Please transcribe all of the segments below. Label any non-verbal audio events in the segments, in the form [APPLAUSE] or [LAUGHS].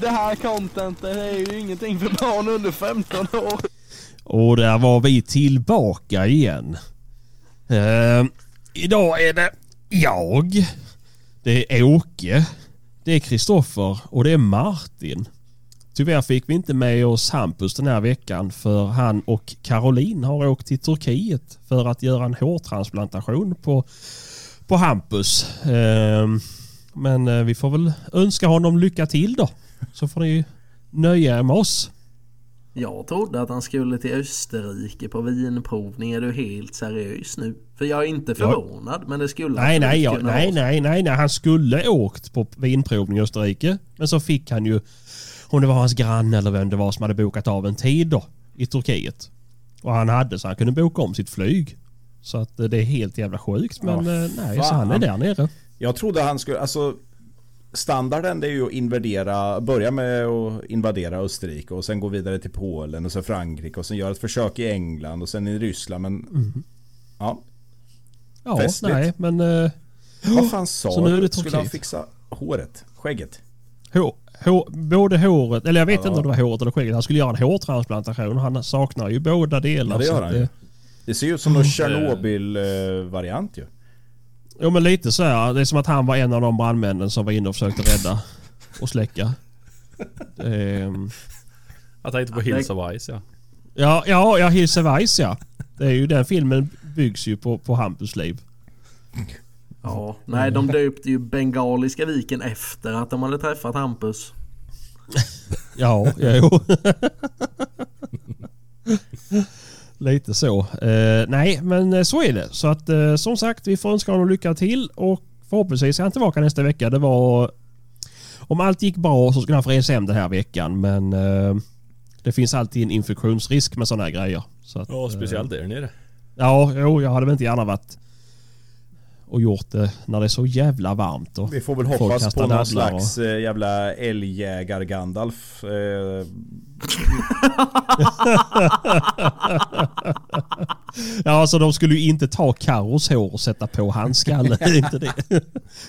det här contentet är ju ingenting för barn under 15 år. Och där var vi tillbaka igen. Eh, idag är det jag. Det är Åke. Det är Kristoffer och det är Martin. Tyvärr fick vi inte med oss Hampus den här veckan för han och Caroline har åkt till Turkiet för att göra en hårtransplantation på, på Hampus. Eh, men eh, vi får väl önska honom lycka till då. Så får ni nöja er med oss. Jag trodde att han skulle till Österrike på vinprovning. Är du helt seriös nu? För jag är inte förvånad, men det skulle Nej, han nej, ja, kunna vara. nej, nej, nej, nej. Han skulle åkt på vinprovning i Österrike. Men så fick han ju, om det var hans granne eller vem det var som hade bokat av en tid då, i Turkiet. Och han hade så han kunde boka om sitt flyg. Så att eh, det är helt jävla sjukt. Men Ja, eh, nej, så fan. han är där nere. Jag trodde han skulle, alltså Standarden det är ju att invadera, börja med att invadera Österrike och sen gå vidare till Polen och sen Frankrike och sen göra ett försök i England och sen i Ryssland men... Mm. Ja, Ja, Festligt. nej, men eh, vad fan sa Så nu är det du? Skulle han Turkiet. fixa håret? Skägget? hår, hår, både håret, eller jag vet Ja. inte om det var håret eller skägget. Han skulle göra en hårtransplantation och han saknar ju båda delar. Ja det så gör att eh, han det- Mm. ju. Det ser ju ut som någon Tjernobyl-variant ju. Ja men lite så här. Det är som att han var en av de brandmännen som var inne och försökte rädda och släcka. Ehm, Jag tänkte på Hills of Ice ja. ja, ja, ja Hilse Weiss ja. Det är ju den filmen byggs ju på, på Hampus liv. Ja, nej, de döpte ju Bengaliska viken efter att de hade träffat Hampus. Ja, ja, jo. [LAUGHS] Lite så. Eh, nej, men eh, så är det. Så att eh, som sagt, vi får önska honom lycka till och förhoppningsvis är han tillbaka nästa vecka. Det var... Om allt gick bra så skulle han få resa hem den här veckan, men eh, det finns alltid en infektionsrisk med sådana här grejer. Så att, Ja, eh, speciellt där nere. Ja, jo, jag hade väl inte gärna varit och gjort det när det är så jävla varmt. Och Vi får väl folk hoppas kastar på någon dadlar och- slags eh, jävla älgjägar-Gandalf. Eh, Ja, alltså de skulle ju inte ta Carros hår och sätta på hans skalle. Det är inte det.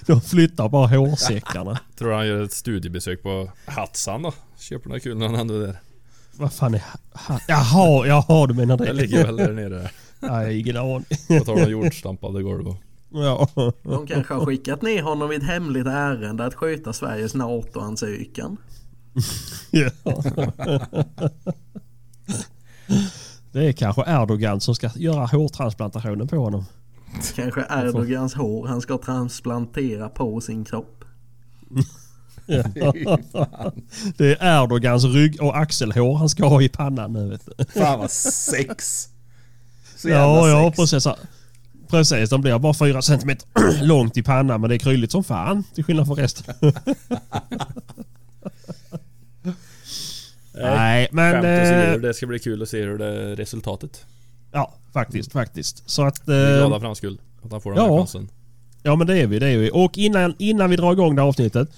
De flyttar bara hårsäckarna. Tror han gör ett studiebesök på Hatsan då? Köper några kul när han ändå är där. Vad fan är han? Jaha, jaha du menar Det det? ligger väl där nere. Nej, ingen aning. På tal om jordstampade golv och... Ja. De kanske har skickat ner honom i ett hemligt ärende att sköta Sveriges NATO-ansökan. Ja. Det är kanske Erdogan som ska göra hårtransplantationen på honom. Kanske Erdogans hår han ska transplantera på sin kropp. Det är Erdogans rygg och axelhår han ska ha i pannan nu vet du. fan vad sex! Så jävla Ja, ja sex. precis. Precis, de blir bara fyra centimeter [CLEARS THROAT] långt i pannan men det är krylligt som fan till skillnad [LAUGHS] från resten. Nej, men... Skämt åsido, Eh, det ska bli kul att se hur det resultatet. ja, faktiskt, faktiskt. Så att... Vi är Eh, glada för hans skull. Att han får den ja. här chansen. ja, men det är vi, det är vi. Och innan, innan vi drar igång det här avsnittet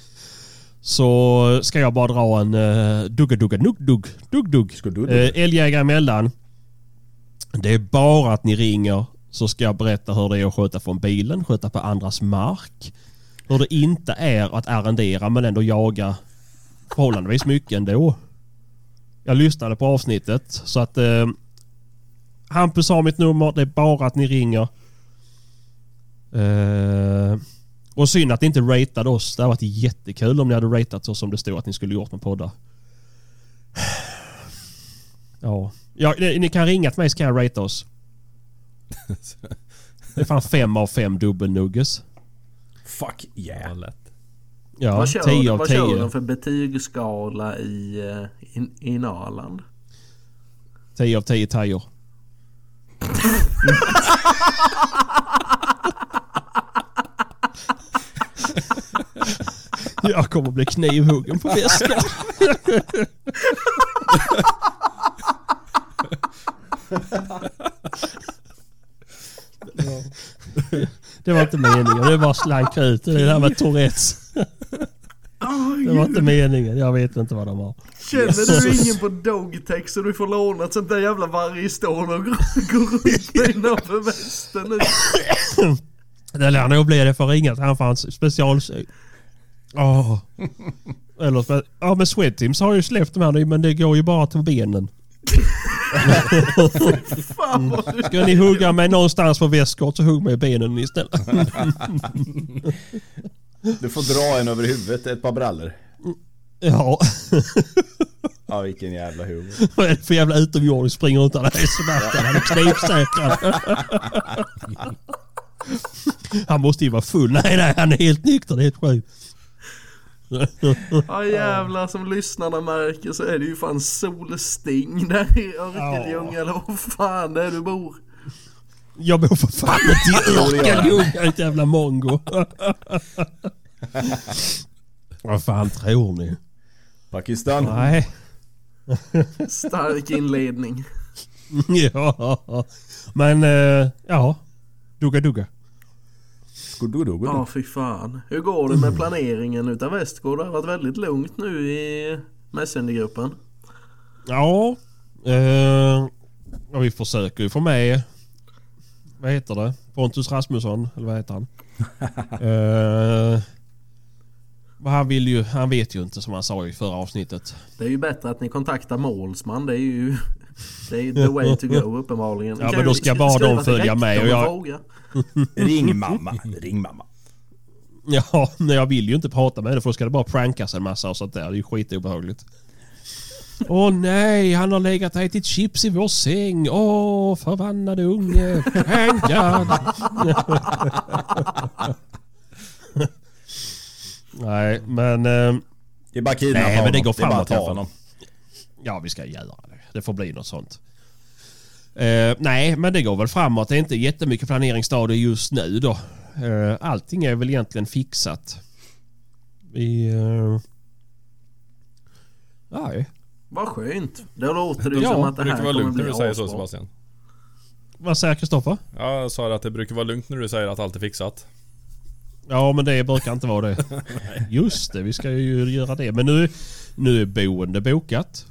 så ska jag bara dra en eh, dugga dugga nugg dugg dugg dugg. Ska du- Eh, Älgjägare emellan. Det är bara att ni ringer så ska jag berätta hur det är att sköta från bilen, sköta på andras mark. Hur det inte är att arrendera men ändå jaga förhållandevis mycket ändå. Jag lyssnade på avsnittet så att eh, Hampus har mitt nummer, det är bara att ni ringer. Eh, och synd att ni inte ratade oss. Det hade varit jättekul om ni hade ratat oss som det stod att ni skulle gjort med poddar. Ja. ja ni, ni kan ringa till mig så kan jag rata oss. Det är fan fem av fem dubbelnugges. Fuck Ja, yeah. lätt. Ja, vad kör, tio av vad kör tio. de för betygsskala i, eh, i, i Norrland? Tio av tio tajor. [LAUGHS] Jag kommer bli knivhuggen på väskan. Det var inte meningen. Det bara slank ut. Det är det här med Tourettes. Det var inte meningen. Jag vet inte vad de har. Känner du ingen på Dogtech så du får låna ett sånt där jävla vargstål och [LAUGHS] gå runt med innanför västen nu? Det lär nog bli det för ringa till han för hans specialsyn. Ja. Eller för, ja men Sweatteams har ju släppt de här nu men det går ju bara till benen. Fan vad du... Ska ni hugga mig någonstans på väskor så hugg mig i benen istället. Du får dra en över huvudet, ett par brallor. Ja, Ja vilken jävla humor. vad är det för jävla utomjording som springer runt där? Han är smärtad, han är knivsäkrad. Han måste ju vara full. Nej, nej, han är helt nykter. Det är helt sjukt. Ja jävlar som lyssnarna märker så är det ju fan solsting där i Örkelljunga eller vad fan det är du bor. Jag bor för fan inte i Örkelljunga, jag är ett jävla mongo. Vad fan tror ni? Pakistan. Nej. Stark inledning. [LAUGHS] Ja. Men eh, ja. Dugga dugga. Skudugudugu. Ja fy fan. Hur går det med planeringen utav Västgård? Det har varit väldigt lugnt nu i Messengergruppen. Ja. Eh, och vi försöker ju få med. Vad heter det? Pontus Rasmusson. Eller vad [LAUGHS] heter han? eh, men han vill ju. Han vet ju inte som han sa i förra avsnittet. Det är ju bättre att ni kontaktar målsman. Det är ju [LAUGHS] det är ju the way to go uppenbarligen. Ni Ja, kan men ju då ska sk- bara de skriva till följa med och rektorn jag- fråga. Ring mamma. Ring mamma. [LAUGHS] Ja, nej, jag vill ju inte prata med henne för då ska det bara prankas en massa och sånt där. Det är ju skitobehagligt. Åh nej, han har legat och ätit chips i vår säng. Åh, förbannade unge. Prankad. [LAUGHS] nej, men... eh, Det är bara kidnappa Nej, men det honom. går är bara framåt att i ta alla fall. honom. Ja, vi ska göra det. Det får bli något sånt. Eh, nej, men det går väl framåt. Det är inte jättemycket planeringsstadier just nu då. Eh, allting är väl egentligen fixat. Vi... Eh, nej. Vad skönt. Då låter det ju Ja, som att det Det här brukar vara kommer lugnt bli när du säger så asbra. Sebastian. Vad säger Kristoffer? Ja, jag sa det att det brukar vara lugnt när du säger att allt är fixat. Ja, men det brukar inte vara det. [LAUGHS] Just det, vi ska ju göra det. Men nu, nu är boende bokat.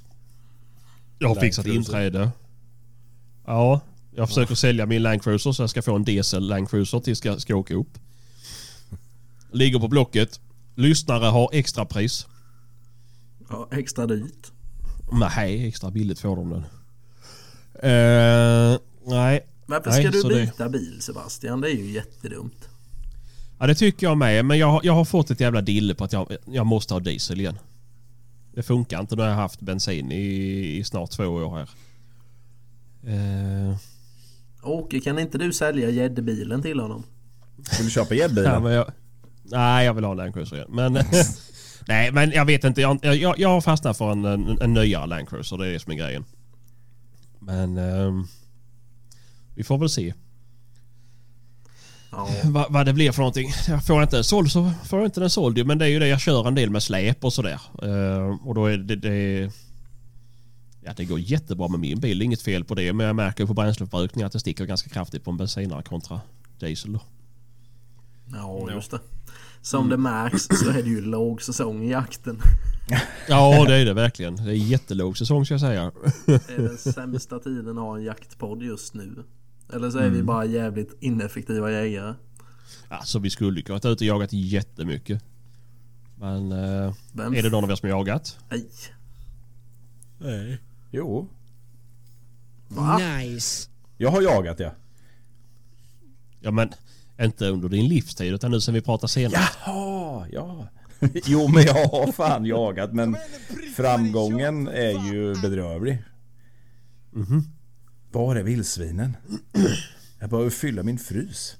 Jag har Land fixat Cruiser. inträde. Ja, jag försöker sälja min Land Cruiser så jag ska få en diesel Land Cruiser tills jag ska åka upp. Ligger på Blocket. Lyssnare har extrapris. Ja, extra dyrt. Nej, extra billigt får de den. Eh, nej, Varför Nej, ska du så det- byta bil Sebastian? Det är ju jättedumt. Ja det tycker jag med. Men jag, har- jag har fått ett jävla dille på att jag, jag måste ha diesel igen. Det funkar inte. Nu har jag haft bensin i, i snart två år här. Eh, Åke, kan inte du sälja gäddbilen till honom? Vill du köpa ja, gäddbilen? men jag, nej jag vill ha en Land Cruiser igen. Men, [LAUGHS] nej men jag vet inte. Jag, jag, jag har fastnat för en, en, en nyare Land Cruiser. Det är det som är grejen. Men ehm, vi får väl se Ja, vad, vad det blir för någonting. Jag får jag inte den såld så får jag inte den såld ju. Men det är ju det jag kör en del med släp och sådär. Eh, och då är det... det Ja, det går jättebra med min bil, inget fel på det. Men jag märker på bränsleförbrukningen att det sticker ganska kraftigt på en bensinare kontra diesel. Då. ja just det. Som det märks så är det ju låg säsong i jakten. [LAUGHS] Ja, det är det verkligen. Det är jättelåg säsong ska jag säga. Det är den sämsta tiden att ha en jaktpodd just nu. Eller så är Mm. vi bara jävligt ineffektiva jägare. Alltså vi skulle ju kunnat ut och jagat jättemycket. Men eh, Vem är det någon av er som har jagat? Nej. Jo. Va? Nice. Jag har jagat ja. Ja men inte under din livstid utan nu sen vi pratar senare. Jaha, ja. Jo men jag har fan jagat men framgången är ju bedrövlig. Mhm. Var är vildsvinen? Jag behöver fylla min frys.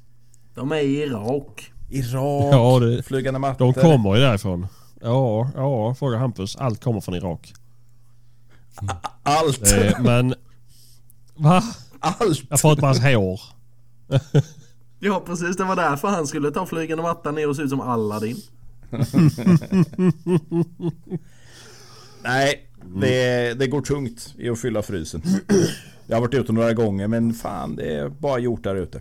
De är i Irak. Irak, Ja, det- flygande mattor. De kommer ju därifrån. Ja, ja, fråga Hampus. Allt kommer från Irak. [LAUGHS] Allt, Eh, men... Va? allt. Jag pratar om hans hår. Ja precis, det var därför han skulle ta flygande mattan ner och se ut som Aladdin. Nej, Mm. det, det går tungt i att fylla frysen. [CLEARS THROAT] Jag har varit ute några gånger men fan det är bara gjort där ute.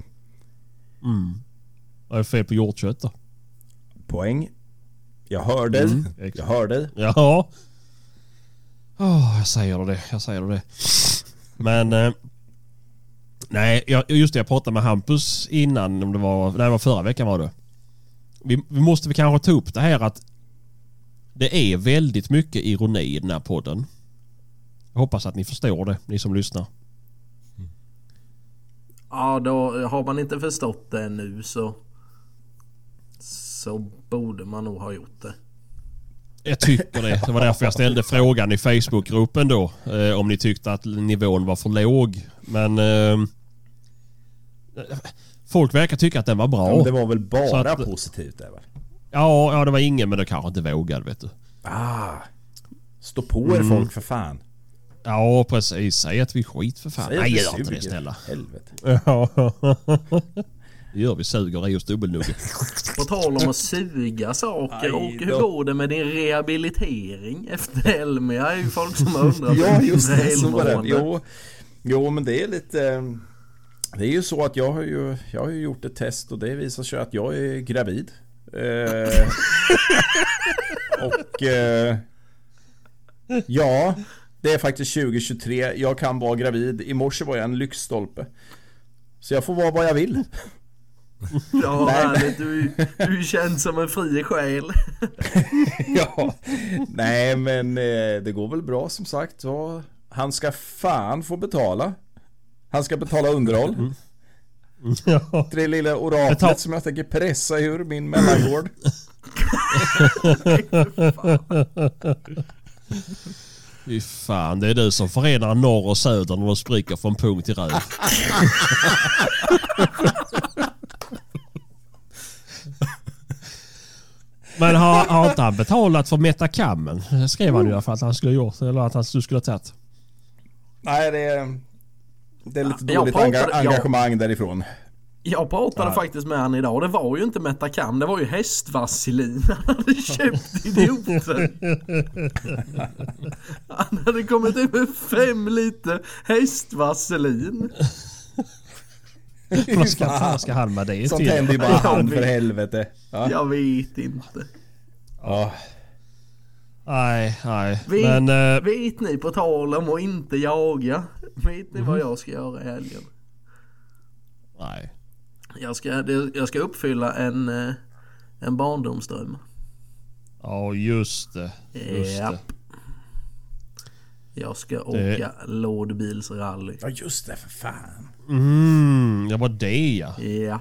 Vad är det fel på hjortkött då? Poäng. Jag hör dig. jag exakt. hör dig. Ja. Åh, jag säger det, jag säger det. Men... Eh, nej, jag, just det. Jag pratade med Hampus innan. Om det var, nej, det var förra veckan var det. Vi, vi måste väl kanske ta upp det här att Det är väldigt mycket ironi i den här podden. Jag hoppas att ni förstår det, ni som lyssnar. Ja, då eh, har man inte förstått det nu så... Så borde man nog ha gjort det. Jag tycker det. Det var därför jag ställde frågan i Facebookgruppen då. Eh, om ni tyckte att nivån var för låg. Men... Eh, folk verkar tycka att den var bra. Men det var väl Så bara att- positivt där va? Ja, ja, det var ingen men det kanske inte vågade vet du. Ah, stå på er Mm. folk för fan. Ja, precis. Säg att vi är skit för fan. Säg att Nej, vi gör inte det suger. [LAUGHS] snälla. Helvete. Ja. Det gör vi. Suger i oss dubbelnugget. På tal om att suga saker och hur går det med din rehabilitering efter Elmia? Det är ju folk som [LAUGHS] har undrat [LAUGHS] Ja om just dina det, så var det. elmående. Jo, jo men det är lite... eh, Det är ju så att jag har ju, jag har ju gjort ett test och det visar sig att jag är gravid. Eh, [LAUGHS] och... Eh, ja, det är faktiskt 2023. Jag kan vara gravid. I morse var jag en lyxstolpe. Så jag får vara vad jag vill. Ja, härligt. Du, är- du känns som en fri själ. [LAUGHS] ja. Nej men eh, det går väl bra som sagt. Ja, Han ska fan få betala. Han ska betala underhåll. Ja. Det lilla Betal- oraklet som jag tänker pressa ur min mellangård. Fy fan, det är du som förenar norr och söder när de spricker från punkt till röv. Men har, har inte han betalat för metakammen? Det skrev han ju i alla fall att han skulle ha gjort. Eller att han, du skulle ha tagit. Nej, det är, det är lite Jag dåligt pratar- enga- jag- engagemang därifrån. Jag pratade faktiskt med han idag. Det var ju inte Metacam, det var ju hästvaselin [LAUGHS] han hade köpt, idioten. Han hade kommit ut med fem liter hästvaselin. Vad ska, fan ska han med det Sånt till? händer ju bara han för helvete. Ja. Jag vet inte. Ja. Nej, nej. Vet, Men eh, vet ni, på tal om att inte jaga. Vet ni Mhm. vad jag ska göra i helgen? nej. Jag ska, det- jag ska uppfylla en, eh, en barndomsdröm. Ja, just det. Just det. Japp. Jag ska åka Det- lådbilsrally. ja, just det för fan. Mm, det var det ja. Ja.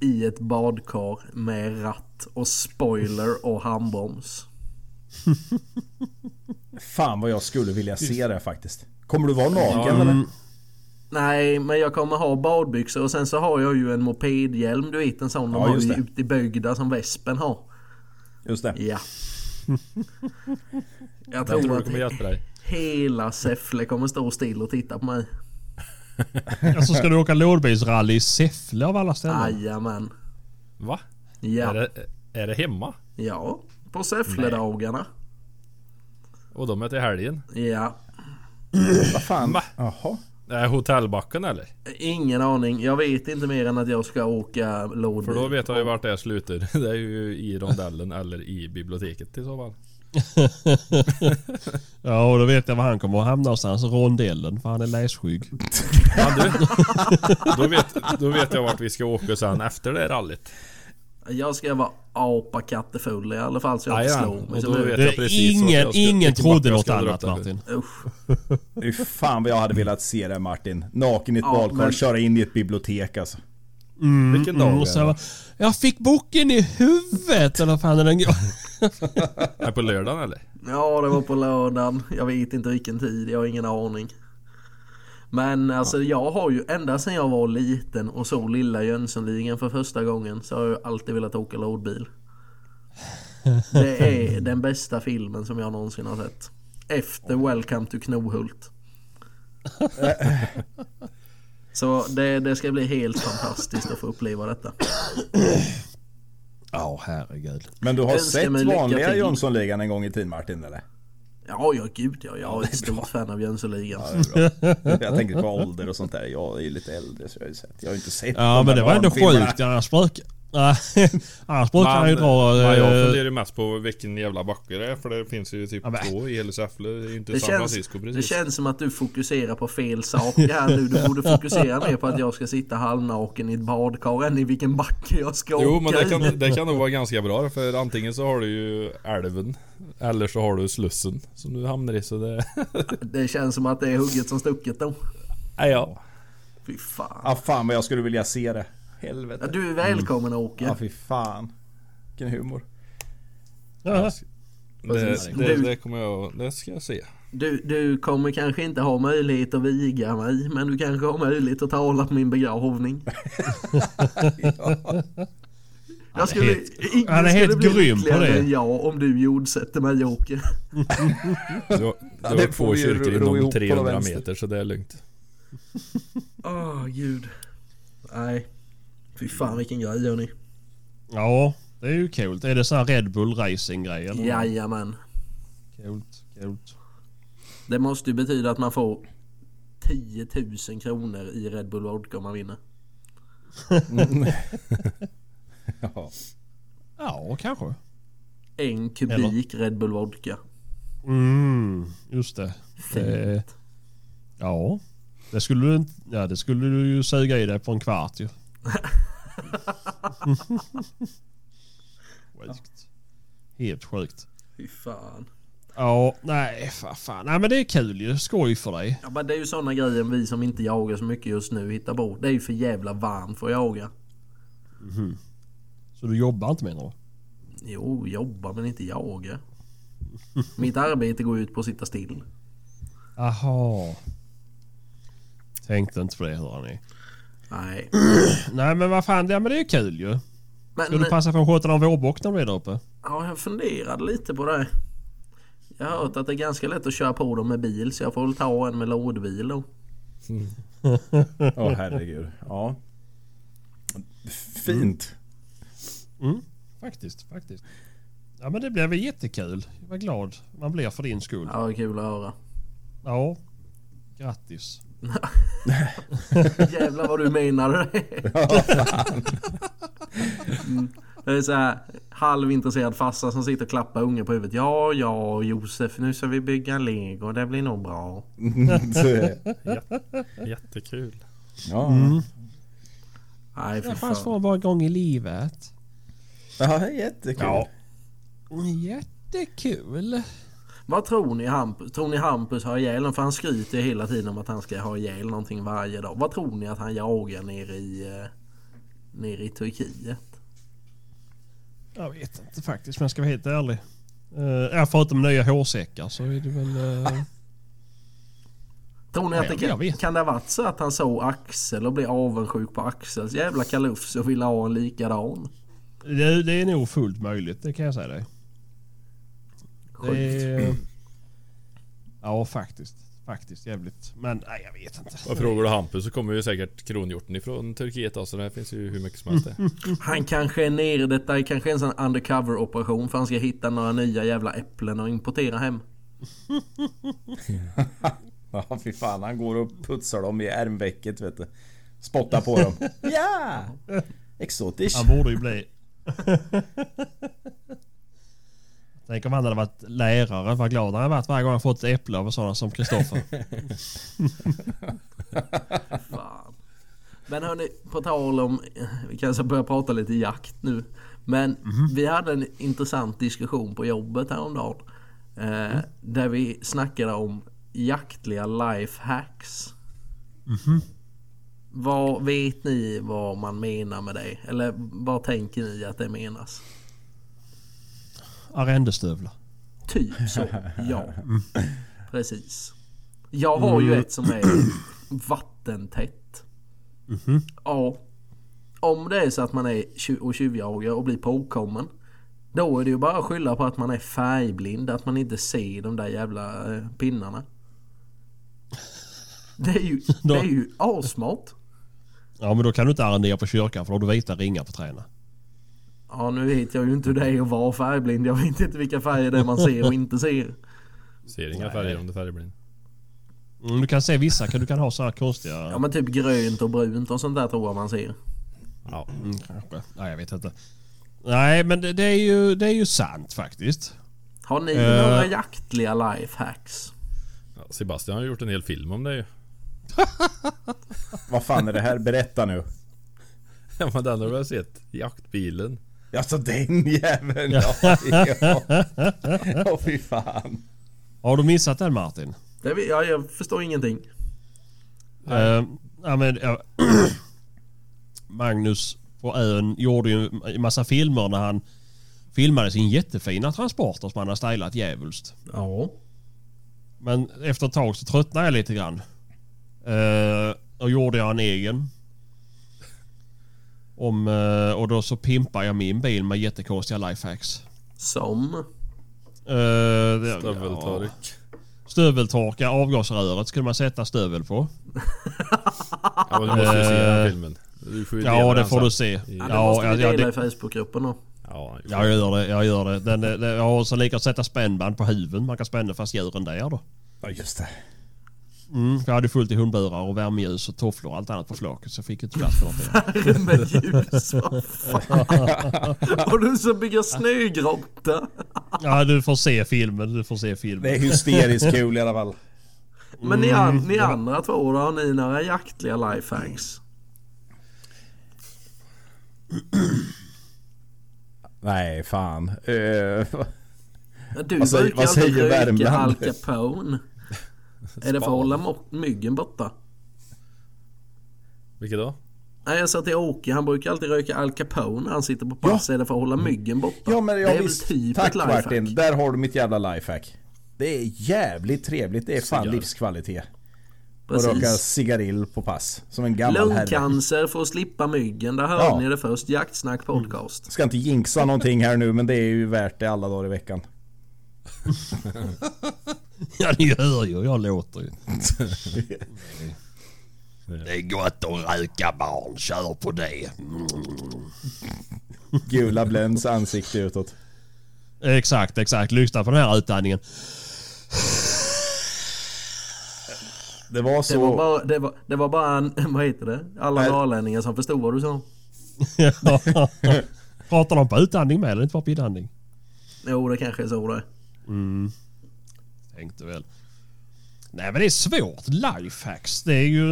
I ett badkar med ratt och spoiler och handbroms. Fan vad jag skulle vilja se det faktiskt. Kommer du vara naken eller? Nej, men jag kommer ha badbyxor och sen så har jag ju en mopedhjälm. Du vet en sån de Ja, har just ju det. ute i bygda som vespen har. Just det. Ja. Jag Jag tror tror det kommer att hjälpa dig. hela Säffle kommer stå still och titta på mig. Alltså ska du åka lådbilsrally i Säffle av alla ställen? Jajamän. Va? Är, Ja. det, är det hemma? ja. På Säffledagarna. Och de är till helgen? Ja. Vad fan? Va? Jaha. Är hotellbacken eller? Ingen aning. Jag vet inte mer än att jag ska åka lådbil. För då vet jag ju vart det här slutar. [LAUGHS] Det är ju i rondellen eller i biblioteket i så fall. Ja, och då vet jag var han kommer att hamna någonstans. Rondellen, för han är lässkygg. Men du, då vet, då vet jag vart vi ska åka sen efter det här rallyt. Jag ska vara apakattefull i alla fall så jag inte Jajamän, slår mig. och Så då nu- vet Det jag är precis vart ingen, jag ska- ingen vilken trodde backe jag något ska dra annat upp där. Martin. Usch. Fy fan vad jag hade velat se det Martin. Naken i ett Ja, badkar, men- köra in i ett bibliotek alltså. Vilken dag Mm, Och är så det? var, jag fick boken i huvudet eller vad fan är den går. Är det på lördagen eller? Ja, det var på lördagen. Jag vet inte vilken tid. Jag har ingen aning. Men alltså jag har ju ända sedan jag var liten och såg lilla Jönssonligan för första gången så har jag alltid velat [LAUGHS] åka lådbil. Det är den bästa filmen som jag någonsin har sett. Efter Welcome to [LAUGHS] Knohult. Så det, det ska bli helt fantastiskt att få uppleva detta. Ja, herregud. Men du har Önskar mig sett lycka vanliga till. Jönssonligan en gång i tiden Martin eller? Ja, ja gud ja. Jag är ett stort fan av Jönssonligan. Ja, det är bra. Jag tänker på ålder och sånt där. Jag är ju lite äldre så jag har ju sett. Jag har ju inte sett Ja, men de där det var ändå barnfilmerna. sjukt. Jag sprök. Nej, [LAUGHS] annars brukar han ju dra... men jag eh, funderar ju mest på vilken jävla backe det är. För det finns ju typ Ja, men- två i hela Säffle. Det är ju inte Det San känns, Francisco precis. det känns som att du fokuserar på fel saker här nu. Du borde fokusera mer på att jag ska sitta halvnaken i ett badkar än i vilken backe jag ska Jo åka men det i. kan, det kan nog vara ganska bra för antingen så har du ju älven Eller så har du slussen som du hamnar i så det... [LAUGHS] Det känns som att det är hugget som stucket då. Nej, ja. Fy fan. Ah, fan vad jag skulle vilja se det. Ja, Helvete. du är välkommen Ja ah, Åke. fy fan. [LAUGHS] Vilken humor. ja. Det, det, det kommer jag... Det ska jag se. Du, du kommer kanske inte ha möjlighet att viga mig men du kanske har möjlighet att tala på min begravning. Jag skulle, helt- ingen han är helt skulle bli grym på lyckligare det. än jag om du jordsätter mig Åke. Du, har- du har det får två vi ju kyrkor ro- ro ihop inom på 300 vänster. meter så det är lugnt. Åh gud. Nej. Fy fan vilken grej hörni. ja, det är ju kul. Är det sån här Red Bull racing grej eller? Jajamän. Kul, kul. Det måste ju betyda att man får 10 000 kronor i Red Bull Vodka om man vinner. Ja. Ja, kanske. En kubik Red Bull Vodka. Mm, just det. det Fint. ja, det skulle, du, inte- ja, det skulle du ju suga i dig på en kvart [LAUGHS] ju. sjukt. Helt sjukt. Fy fan. Ja, nej, fa- fan. Nej, men det är kul ju. Skoj för dig. Ja, men det är ju sådana grejer vi som inte jagar så mycket just nu hittar på. Det är ju för jävla varmt för att jaga. Så du jobbar inte menar du? Jo, jobba men [LAUGHS] inte jaga. Mitt arbete går ut på att sitta still. Aha. Tänkte inte på det hörni. Nej. Nej men vad fan, ja, men det är ju kul ju. Ska Men, du passa på att skjuta någon vårbock när du är där uppe? Ja, jag funderade lite på det. Jag har hört att det är ganska lätt att köra på dem med bil så jag får väl ta en med lådbil då. Åh herregud. Ja. [LAUGHS] Fint. Faktiskt, faktiskt. Ja men det blev väl jättekul. Jag var glad man blir för din skull. Ja, det är kul att höra. Ja. Grattis. Jävlar vad du menar. Mm. Det är så här halvintresserad farsa som sitter och klappar ungen på huvudet. Ja, ja Josef, nu ska vi bygga lego. Det blir nog bra. Jättekul. ja. Nej, fy Det fanns fan. för bara gång i livet. ja, jättekul. Ja. Jättekul. Vad tror ni Hampus? Tror ni Hampus har ihjäl någon? För han skryter ju hela tiden om att han ska ha ihjäl någonting varje dag. Vad tror ni att han jagar nere i, eh, nere i Turkiet? Jag vet inte faktiskt men jag ska vara helt ärlig. Uh, ja, förutom nya hårsäckar så är det väl... eh, Tror ni att det Nej, jag kan, vet. kan det ha varit så att han såg Axel och blev avundsjuk på Axels jävla kalufs och ville ha en likadan? det, det är nog fullt möjligt, det kan jag säga dig. Eh, Sjukt. Det- Ja, faktiskt. Faktiskt jävligt. Men nej, jag vet [LAUGHS] inte. Och frågar du Hampus så kommer ju säkert kronhjorten ifrån Turkiet alltså. Det finns ju hur mycket som helst det. [LAUGHS] Han kanske är nere, detta är kanske en sån undercover operation för han ska hitta några nya jävla äpplen och importera hem. [LAUGHS] Ja, fy fan. Han går och putsar dem i ärmvecket vet du. Spottar på [LAUGHS] dem. ja! Exotiskt. Han borde ju bli... Tänk om han hade varit lärare, vad glad han hade varit varje gång han fått ett äpple av sådana som Kristoffer. Fan. Men hörni, på tal om... Vi kanske börjar prata lite jakt nu. Men vi hade en intressant diskussion på jobbet häromdagen. Eh, Där vi snackade om jaktliga lifehacks. Vad Vet ni vad man menar med det? Eller vad tänker ni att det menas? Arrendestövlar. Typ så, ja. Precis. Jag har ju ett som är vattentätt. Ja. Om det är så att man är tju- och tjuvjagar och blir påkommen. Då är det ju bara att skylla på att man är färgblind, att man inte ser de där jävla eh, pinnarna. Det är ju, det är ju asmart. Ja, men då kan du inte arrendera på kyrkan för då har du vita ringar på träna. Ja nu vet jag ju inte hur det är att vara färgblind. Jag vet inte vilka färger det är man ser och inte ser. Ser inga färger om du är färgblind. Mm, du kan se vissa, kan- du kan ha så här konstiga... Ja men typ grönt och brunt och sånt där tror jag man ser. Ja, kanske. Mm. Nej, jag vet inte. Nej, men det, det, är, ju, det är ju sant faktiskt. Har ni Eh. några jaktliga lifehacks? Ja, Sebastian har gjort en hel film om det ju. Vad fan är det här? Berätta nu. [LAUGHS] Ja men den har du väl sett? Jaktbilen. Alltså den jäveln. Ja, ja. Åh fy fan. Har du missat den Martin? Det vi, ja, jag förstår ingenting. Eh, ja, men, ja. [CLEARS THROAT] Magnus på ön gjorde ju en massa filmer när han filmade sin jättefina transporter som han har stylat djävulskt. Ja. Men efter ett tag så tröttnade jag lite grann. Eh, och gjorde jag en egen. Om, eh, och då så pimpade jag min bil med jättekonstiga lifehacks. Som? Eh, det- Stöveltork. Ja, stöveltorka, avgasröret skulle man sätta stövel på. Ja. men du måste ju se den här filmen. Du får ju dela Eh, Ja, det den får sen. du se. alltså- Ja, det måste vi ja, dela det- i Facebookgruppen då. [LAUGHS] Ja, Ja, jag gör det. Jag gör det. Den, den, den, jag har så lika att sätta spännband på huven. Man kan spänna fast djuren där då. Ja just det. Mm, för jag hade fullt i hundburar och värmeljus och tofflor och allt annat på flaket. Så jag fick inte plats för [LAUGHS] någonting. Med ljus, vad fan. Och du som bygger snögrotta. Ja, du får se filmen. Du får se filmen. Det är hysteriskt kul i alla fall. Men ni, an, ni Mm. andra två då, har ni några jaktliga lifehacks? Nej fan. Eh, Du Vad säger- brukar vad alltid säger röka Värmland? Al [LAUGHS] Capone. Är det för att hålla mo- myggen borta? Vilket då? Nej jag sa till Åke, han brukar alltid röka Al Capone när han sitter på pass. Är det för att hålla myggen borta? ja men det jag är visst. väl typ Tack ett lifehack. Martin. Där har du mitt jävla lifehack. Det är jävligt trevligt. Det är fan livskvalitet. Och röka Precis. cigarill på pass. Som en gammal herre. Lungcancer för att slippa myggen, där hörde Ja. Mm. ni det först. Jaktsnack podcast. Ska inte jinxa någonting här nu men det är ju värt det alla dagar i veckan. Ja, ni hör ju. Jag låter ju. [LAUGHS] Det är gott att röka barn. Kör på det. Gula Blends ansikte utåt. Exakt, exakt. Lyssna på den här utandningen. [LAUGHS] Det var så... Det var bara, det var, det var bara en, [LAUGHS] vad heter det? Alla Nej. norrlänningar som förstod vad du sa. Pratar de på utandning med eller inte bara på inandning? Jo det kanske är så det är. Tänkte väl. Nej men det är svårt. Lifehacks. Det är ju...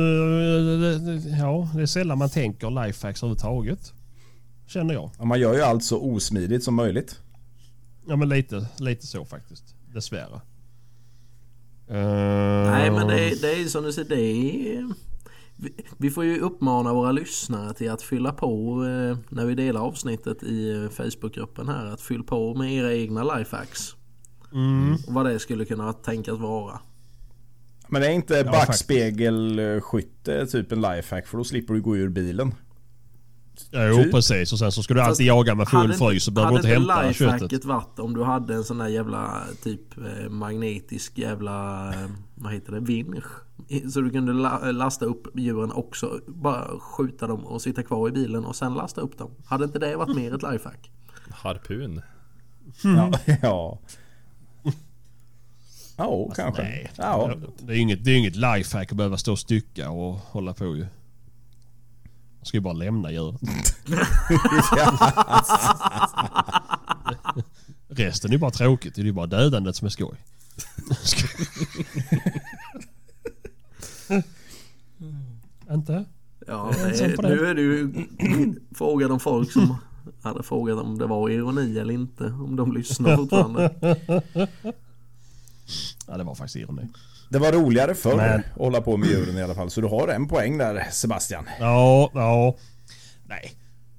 Ja, det är sällan man tänker lifehacks överhuvudtaget. Känner jag. Ja, Man gör ju allt så osmidigt som möjligt. Ja men lite, lite så faktiskt. Dessvärre. Eh, Nej men det, är- det är ju som du säger, det är... Vi, vi får ju uppmana våra lyssnare till att fylla på eh, när vi delar avsnittet i eh, Facebookgruppen här. Att fyll på med era egna lifehacks. Mm. Och vad det skulle kunna tänkas vara. Men är inte faktiskt. backspegelskytte typ en lifehack? För då slipper du gå ur bilen. Jo Typ. precis och sen så ska du Fast alltid jaga med full Hade inte- frys så behöver du inte hämta Hade inte köttet. lifehacket varit om du hade en sån där jävla typ eh, magnetisk jävla, eh, vad heter det, vinsch? I- Så du kunde la- lasta upp djuren också, bara skjuta dem och sitta kvar i bilen och sen lasta upp dem. Hade inte det varit mer ett lifehack? Harpun. Hmm. Ja. [LAUGHS] ja. Ja, kanske. Nej. Ja. Det är ju inget, det är ju inget lifehack att behöva stå och stycka och hålla på ju. Man ska ju bara lämna djuret. Resten är ju bara tråkigt. Det är ju bara dödandet som är skoj. Inte? Ja, Jag är det, ensam på det. Eh, nu är det ju [CLEARS THROAT] frågan om folk som hade frågat om det var ironi eller inte. Om de lyssnar fortfarande. [LAUGHS] Ja, det var faktiskt ironi. Det var roligare förr Men- att hålla på med djuren i alla fall. Så du har en poäng där Sebastian. Ja, ja. Nej,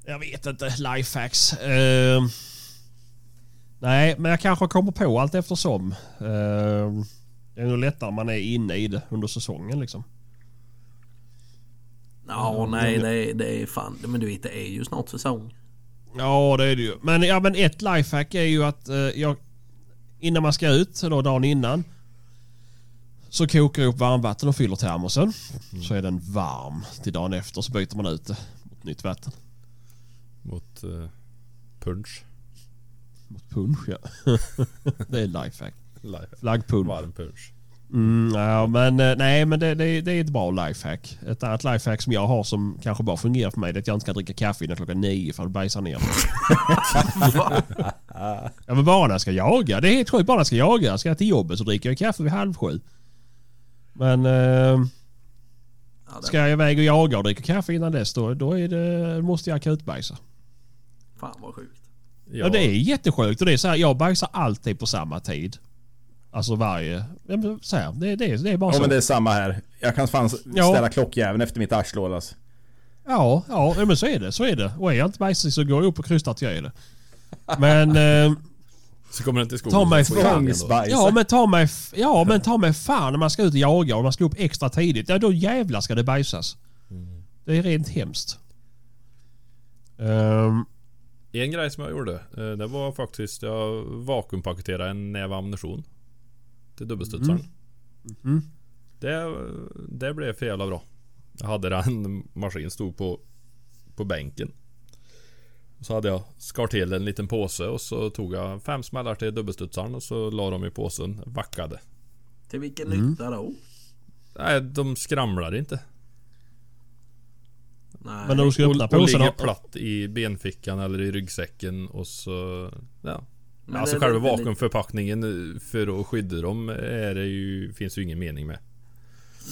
jag vet inte. Lifehacks. Ehm. nej, men jag kanske kommer på allt eftersom. Uh, det är nog lättare om man är inne i det under säsongen liksom. Ja, nej, det, är- det är fan. Men du vet, det är ju snart säsong. [LAUGHS] Ja, det är det ju. Men, ja, men ett lifehack är ju att eh, jag, innan man ska ut, eller dagen innan, så kokar jag upp varmvatten och fyller termosen. Så är den varm till dagen efter så byter man ut det mot nytt vatten. Mot eh, punch. Mot punsch ja. [LAUGHS] det är lifehack. Life. Flaggpunsch. Varm punch. Mm, ja, men, eh, nej, men det, det, det är ett bra lifehack. Ett annat lifehack som jag har som kanske bara fungerar för mig det är att jag inte kan dricka kaffe innan klockan nio för att bajsa ner mig. ja, men bara när jag ska jaga. Det är helt sjukt. Bara när jag ska jaga. Ska jag till jobbet så dricker jag kaffe vid halv sju. Men eh, Ja, det, ska jag iväg och jaga och dricka kaffe innan dess då, då är det, måste jag akutbajsa. Fan vad sjukt. Ja. det är jättesjukt. Och det är så här, jag bajsar alltid på samma tid. Alltså varje... ja, men Så här, det, det, det är bara Ja så. men det är samma här. Jag kan fan s- Ja. ställa klockjäveln efter mitt arslål alltså. Ja, ja, ja, men så är det. Så är det. Och är jag inte bajsig så går jag upp och krystar att jag är det. Men... [LAUGHS] Eh, Så kommer den till skogen. Ta mig så får jag den ändå. Tvångsbajsa. ja, men ta mig, f- ja, men ta mig fan när man ska ut och jaga och man ska upp extra tidigt. Ja, då jävlar ska det bajsas. Mm. Det är rent hemskt. Ehm, En grej som jag gjorde, eh, det var faktiskt jag vakuumpaketerade en näve ammunition. Till dubbelstudsaren. Mhm. Det, det blev för jävla bra. Jag hade den maskin stod på, på bänken. Så hade jag skar till en liten påse och så tog jag fem smällar till dubbelstudsaren och så la de i påsen. Vackade. Till vilken Mm. nytta då? Nej, de skramlar inte. Nej. men när du ska öppna Och, och påsen... ligger har- platt i benfickan eller i ryggsäcken och så... Ja. Men alltså det själva låter lite- vakuumförpackningen eh, för att skydda dem är det ju, finns ju ingen mening med.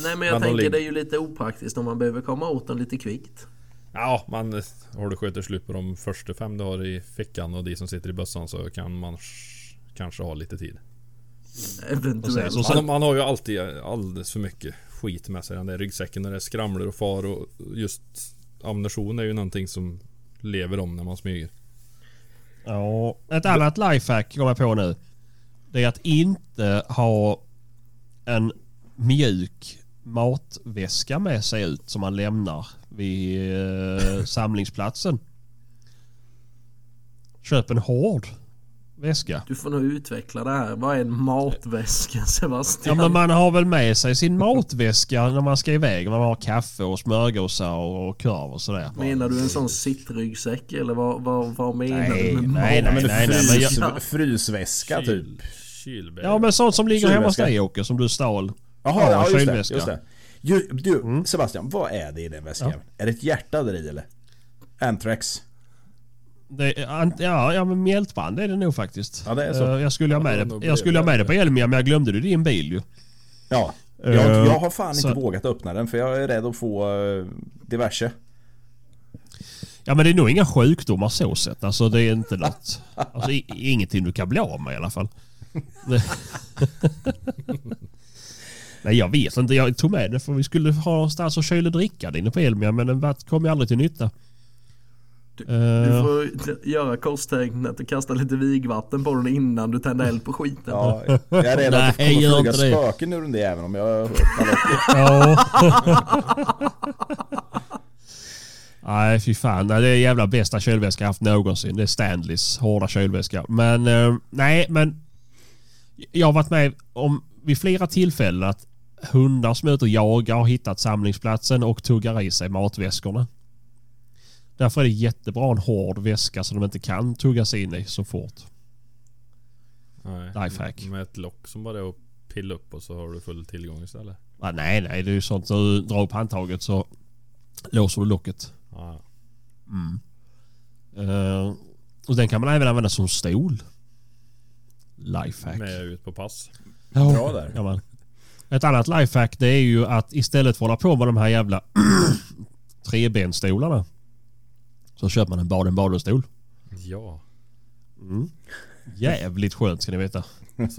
Nej men jag Men de tänker ligger- det är ju lite opraktiskt om man behöver komma åt dem lite kvickt. Ja, man har du skjuter slut på de första fem du har i fickan och de som sitter i bössan så kan man sh- kanske ha lite tid. Eventuellt. Och Och sen- man har ju alltid eh, alldeles för mycket skit med sig i den där ryggsäcken när det skramlar och far och just ammunition är ju någonting som lever om när man smyger. Ja, ett annat lifehack kommer jag på nu. Det är att inte ha en mjuk matväska med sig ut som man lämnar vid [LAUGHS] eh, samlingsplatsen. Köp en hård väska. Du får nog utveckla det här. Vad är en matväska [LAUGHS] Ja, Sebastian? men man har väl med sig sin matväska när man ska iväg. Man har kaffe och smörgåsar och korv och sådär. Menar du en sån sittryggsäck eller vad, vad, vad menar Nej, du med nej, Ja, men nej, nej, frys, men jag- Frysväska typ. Kyl- Kylbär. Ja men sånt som ligger hemma hos Kylväska. dig Åke som du stal. Jaha, ja, just det. kylväska. Just det. Mm. Ju, du Sebastian, vad är det i den väskan? Är det ett hjärta där i eller? Anthrax? Det är, ant- ja, ja, men mjältband är det nog faktiskt. Ja, det är så. Eh, Jag skulle ha Ja, med då det, blir jag skulle ha det med det på Elmia men jag glömde det i din bil ju. Ja. Jag, har- Eh, jag har fan så- inte vågat öppna den för jag är rädd att få eh, [LAUGHS] diverse. Ja men det är nog inga sjukdomar så sett. Alltså det är inte något. Alltså i- ingenting du kan bli av med i alla fall. [LAUGHS] Det- Nej jag vet inte. Jag tog med det för vi skulle ha någonstans att kyla och dricka det inne på Elmia men den vart- kom ju aldrig till nytta. Du Eh, får göra kosttecknet att du kastar lite vigvatten på den innan du tänder eld på skiten. Ja, jag är rädd att det Nej, gör kommer flyga inte det. spöken ur den där även om jag öppnar upp. Ja. [LAUGHS] Nej, fy fan. Nej, Det är jävla bästa kylväska jag haft någonsin. Det är Stanleys hårda kylväska. Men eh, nej, men jag har varit med om vid flera tillfällen att hundar som är ute och jagar har hittat samlingsplatsen och tuggar i sig matväskorna. Därför är det jättebra en hård väska som de inte kan tugga sig in i så fort. Nej. Lifehack. Med ett lock som bara är att pilla upp och så har du full tillgång istället. Ah, nej, nej, det är ju sånt. När du drar upp handtaget så låser du locket. Mm. Ja. Eh, och den kan man även använda som stol. Lifehack. Med ut på pass. Ja, Bra där. ja, men. Ett annat lifehack det är ju att istället för att hålla på med de här jävla [CLEARS THROAT] trebenstolarna. Så köper man en baden badenstol. Ja. Jävligt skönt ska ni veta.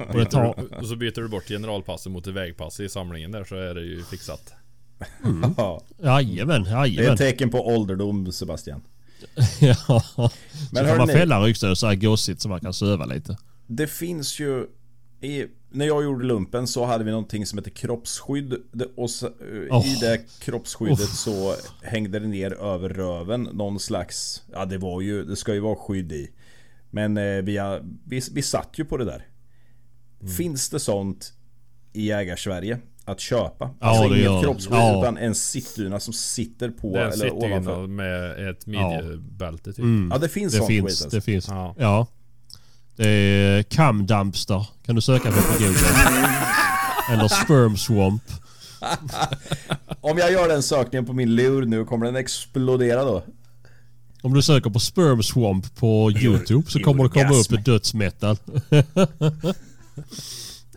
Och det [LAUGHS] tar, Och så byter du bort generalpasset mot ett vägpass i samlingen där så är det ju fixat. [LAUGHS] Ja, jajamän, det är ett jajamän. tecken på ålderdom Sebastian. [LAUGHS] Ja. Så Men kan man hörni- fälla ryggstödet så här gossigt så man kan söva lite. Det finns ju i, När jag gjorde lumpen så hade vi någonting som heter kroppsskydd Det- och så, eh, Oh. i det kroppsskyddet så hängde det ner över röven någon slags Ja det var ju, det ska ju vara skydd i Men eh, vi, har- vi, vi satt ju på det där Mm. Finns det sånt i Jägarsverige att köpa? Alltså Ja, det inget gör det. kroppsskydd Ja. utan en sittdyna som sitter på Det är en eller ovanför Mm. sittdyna med ett midjebälte typ. Ja det finns Det sånt finns, skit alltså. det finns. Ja. Ja. Det är camdumpster. Kan du söka på på Google? Eller sperm swamp. Om jag gör den sökningen på min lur nu, kommer den explodera då? Om du söker på sperm swamp på YouTube så kommer det komma upp orgasm. ett dödsmetal. [LAUGHS]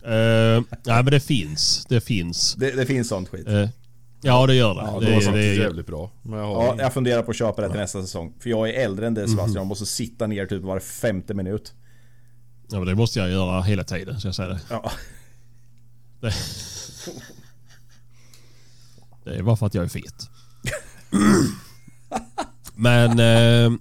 Eh, nej men det finns. Det finns. Det, det finns sånt skit. Eh, ja det gör det. Ja, det, då är- så. det, är- jävligt bra. Men jag har Ja, ingen- jag funderar på att köpa det till nästa säsong. För jag är äldre än dig Sebastian, Mhm. jag måste sitta ner typ var femte minut. ja, men det måste jag göra hela tiden ska jag säga det. Ja. Det är bara för att jag är fet. men... Eh,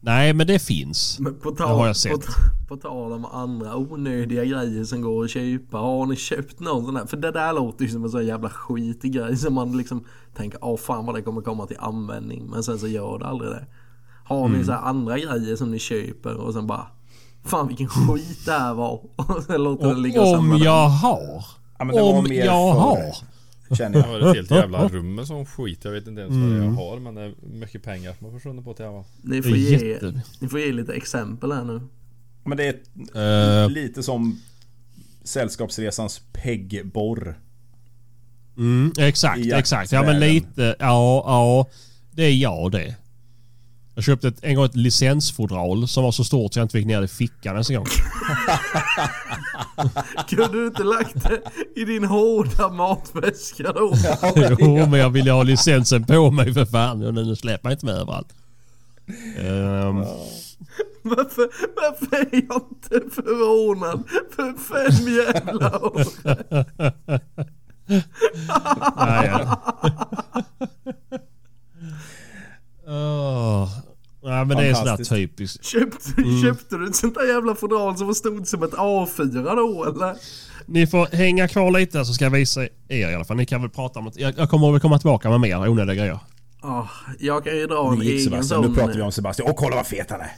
nej men det finns. Men på Det har tal, jag sett. på, på tal om andra onödiga grejer som går att köpa. Har ni köpt någon sån här? För det där låter ju som en sån jävla skitig grej som man liksom tänker åh fan vad det kommer komma till användning. Men sen så gör det aldrig det. Har Mm. ni så här andra grejer som ni köper och sen bara fan vilken skit det här var. [LAUGHS] Och sen låter det ligga och Om samla det. jag har. Ja, men det var Om mer jag förr. har. Känner jag. Jag har ett helt jävla rum med sån skit. Jag vet inte ens vad jag har men det är mycket pengar som har försvunnit på till Havan. Ni Det får, är ge, jätte- ni får ge lite exempel här nu. Men det är Eh, lite som Sällskapsresans peggborr. Mm, exakt, I exakt. Ja men jaktvärlden. lite, ja, ja. Det är jag det. Jag köpte ett, en gång ett licensfodral som var så stort så jag inte fick ner det i fickan ens en [LAUGHS] gång. Kunde du inte lagt det i din hårda [LAUGHS] matväska då? jo, men jag ville ha licensen på mig för fan. Och nu släpper jag inte med överallt. Ehm, Varför, varför är jag inte förvånad för fem jävla år? nej. [LAUGHS] [LAUGHS] Åh. nej men det är sådär Fantastiskt. typiskt. Köpte, Mm. köpte du ett sånt där jävla fodral som var stort som ett A4 då eller? Ni får hänga kvar lite så ska jag visa er i alla fall. Ni kan väl prata om det. Jag, jag kommer väl komma tillbaka med mer onödiga grejer. Ja, Ah, jag kan ju dra en Nu gick egen Sebastian, sån. nu pratar vi om Sebastian. Åh kolla vad fet han är!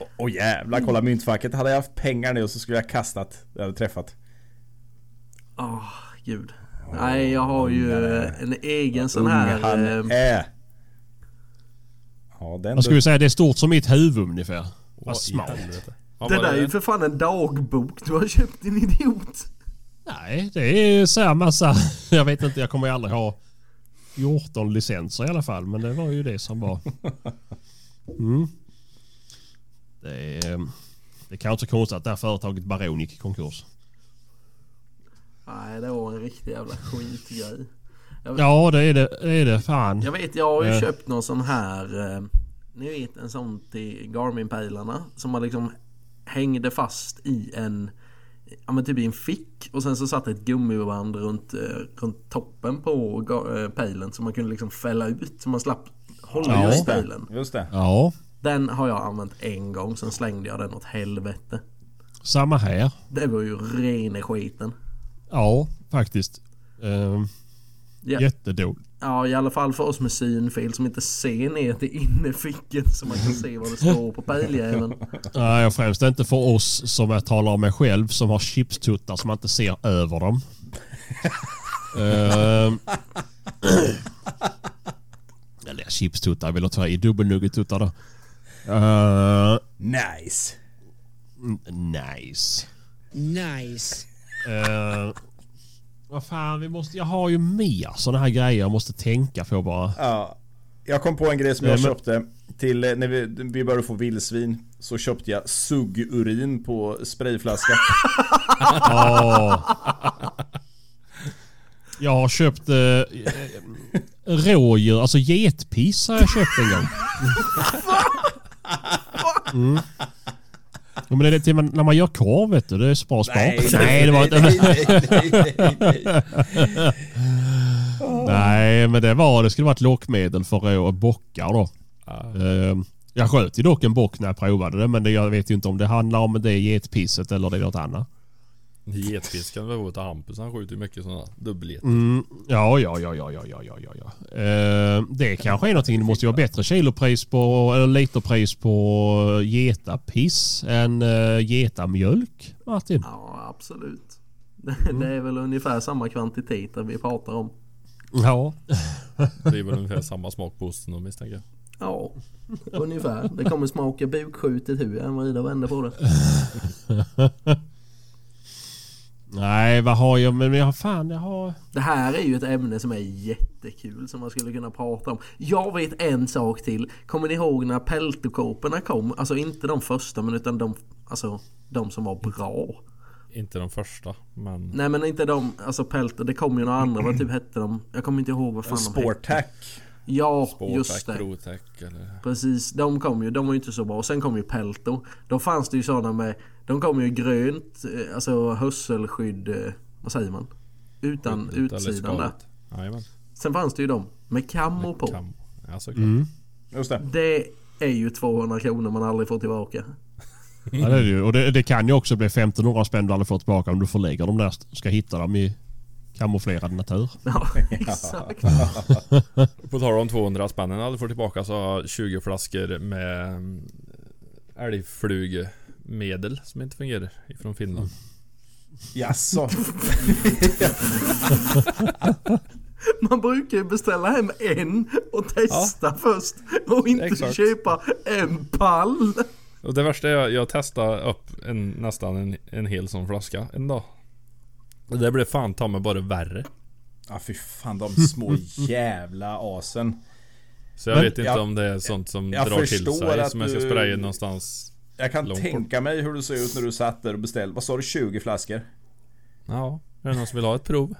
Åh, Åh jävlar, kolla myntfacket. Hade jag haft pengar nu så skulle jag kastat, jag hade träffat. Åh, Ah, gud. Nej, jag har ju eh, en egen sån Ung här. Mm. han eh, är. Ja, den Jag skulle säga det är stort som mitt huvud ungefär. Vad Vad i smalt. helvete. Ja, Det vad där är ju för fan en dagbok du har köpt din idiot. Nej, det är så här massa... [LAUGHS] Jag vet inte, jag kommer ju aldrig ha 14 licenser i alla fall. Men det var ju det som var... Mm. Det är, det är kanske inte så konstigt att det här företaget Baron gick i konkurs. Nej, det var en riktig jävla skitgrej. Ja, det är det. det, är det fan. Jag vet, jag har ju Eh. köpt någon sån här... Eh, ni vet en sån till Garmin-pejlarna som man liksom hängde fast i en... Ja men typ i en fick och sen så satt ett gummiband runt, eh, runt toppen på ga- eh, pejlen så man kunde liksom fälla ut så man slapp hålla Ja. just pejlen. Just det. Ja, Den har jag använt en gång, sen slängde jag den åt helvete. samma här. Det var ju rene skiten. Ja, faktiskt. Ehm, Ja. Jättedåligt. Ja, i alla fall för oss med synfel som inte ser ner till innerfickan så man kan se vad det står på pejljäveln. Nej, och främst inte för oss som jag talar om mig själv som har chipstuttar som man inte ser över dem. Ehm. Eller chipstuttar, jag vill ta i dubbelnuggetuttar då. Ehm, Nice! nice. Nice. Ehm, vad fan, vi måste, jag har ju mer sådana här grejer jag måste tänka på bara. Ja. Jag kom på en grej som Nej, jag men- köpte till eh, när vi, vi började få vildsvin så köpte jag suggurin på sprayflaska. Ja. Jag har köpt eh, eh, rådjur, alltså getpiss har jag köpt en gång. Mm. Ja, men det är till man, när man gör korv vet du, det är så bra smak. Nej, det var inte. nej, nej, nej, nej, nej, nej. Nej, men det var det skulle vara ett lockmedel för rå bockar då. Ehm, Jag sköt ju dock en bock när jag provade det, men det, jag vet ju inte om det handlar om det getpisset eller det är något annat. Getfisken var vårt Hampus. Han skjuter ju mycket sådana dubbelgetar. Mm, ja, ja, ja, ja, ja, ja, ja, ja, ja. Eh, det kanske är någonting. Det måste ju vara bättre kilopris på, eller literpris på getapiss än uh, getamjölk, Martin. Ja, absolut. Det, det är väl ungefär samma kvantiteter vi pratar om. Ja. Det är väl ungefär samma smak på osten då misstänker jag. Ja, ungefär. Det kommer smaka bukskjutet hur jag än vrider och vänder på det. Nej, vad har jag? Men jag har fan, jag har... Det här är ju ett ämne som är jättekul som man skulle kunna prata om. Jag vet en sak till. Kommer ni ihåg när peltokåporna kom? Alltså inte de första men utan de, alltså, de som var bra. Inte de första, men... Nej men inte de, alltså pelto, det kom ju några andra, vad typ hette de? Jag kommer inte ihåg vad fan de hette. Sportac. Ja, just Spårtack, det. Protac eller... Precis, de kom ju, de var ju inte så bra. Och sen kom ju Pelto. Då fanns det ju sådana med, de kom ju i grönt, eh, alltså hörselskydd, eh, vad säger man? Utan Skyddet eller utsidan där. skalet. Jajamän. Sen fanns det ju de med kammo på. Kam- Ja, såklart. Mm. Just det. Det är ju 200 kronor man aldrig får [LAUGHS] tillbaka. Ja, det är det ju. Och det, det kan ju också bli 1500 spänn du aldrig får tillbaka om du förlägger dem där och ska hitta dem i kamouflerad natur. Ja, exakt. På tal om 200 spännen jag aldrig får tillbaka så har jag 20 flaskor med mm, älgflugmedel som inte fungerar ifrån Finland. Mm. Jaså? Man brukar ju beställa hem en och testa först. Och inte Exakt. köpa en pall. Och det värsta är jag, jag testade upp en, nästan en, en hel sån flaska en dag. Och det blev fan ta mig bara värre. Ja fy fan de små jävla asen. Så jag Men- vet inte jag- om det är sånt som jag drar till förstår sig att som jag ska du- spraya någonstans. Jag kan Långt tänka mig hur du såg ut när du satt där och beställde. Vad sa du? 20 flaskor? Ja, är det någon som vill ha ett prov?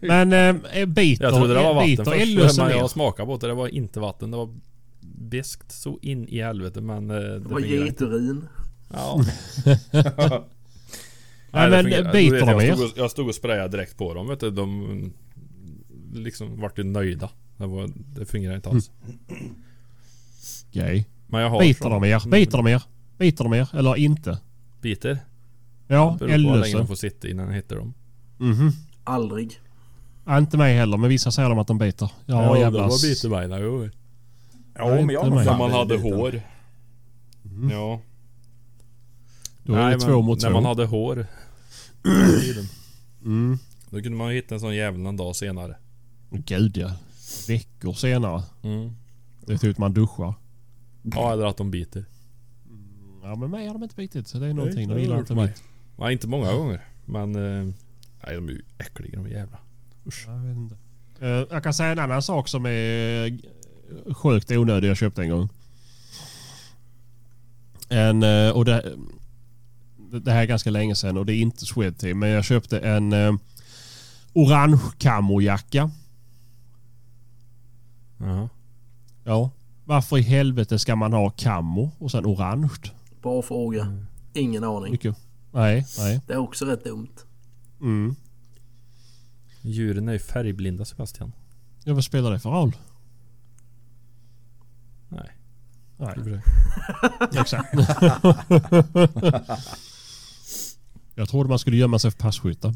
Men eh, biter, Jag trodde det var vatten biter först, Ellos men ner? jag smakade på det. Det var inte vatten. Det var beskt så in i helvete men... eh, Det, Det var fungerade inte. geturin. [LAUGHS] Ja. det Nej, men fungerade. biter Du vet, de jag, er? stod och, jag stod och sprayade direkt på dem vet du. De liksom vart ju nöjda. Det, var, det fungerade inte alls. Okej. Men jag har Biter sån- de er? Biter de er? Biter de er? Eller inte? Biter? Ja, Beror på hur länge Ellösen. de får sitta innan jag hittar dem. Aldrig. Ja, inte mig heller, men vissa säger de att de biter. Ja, de jävlar. var biterbeina, jo. Ja men jag inte mig. fan När man hade blivit biten. hår. Ja. Då är det två men mot när två. Mm. man hade hår. [CLEARS THROAT] på tiden. Då kunde man ju hitta en sån jävel en dag senare. Gud ja. Veckor senare. Mm. Det är typ man duschar. Ja, eller att de biter. Ja, men mig har de inte bitit. Så det är någonting. det De har gillar de inte gjort mig. Nej, inte många gånger. Men... Eh, nej, de är ju äckliga de jävla. Jag vet inte. Eh, jag kan säga en annan sak som är eh, sjukt onödig jag köpte en gång. En, eh, och det, det här är ganska länge sedan och det är inte Swedteam. Men jag köpte en eh, orange kamojacka. Ja. Ja. Varför i helvete ska man ha kammo och sen orange? Bra Mm. fråga. Ingen aning. Mycket. Nej, nej. Det är också rätt dumt. Mm. Djuren är ju färgblinda Sebastian. Ja, vad spelar det för roll? Nej. Nej. det är bra. [LAUGHS] Exakt. jag trodde man skulle gömma sig för passkyttar.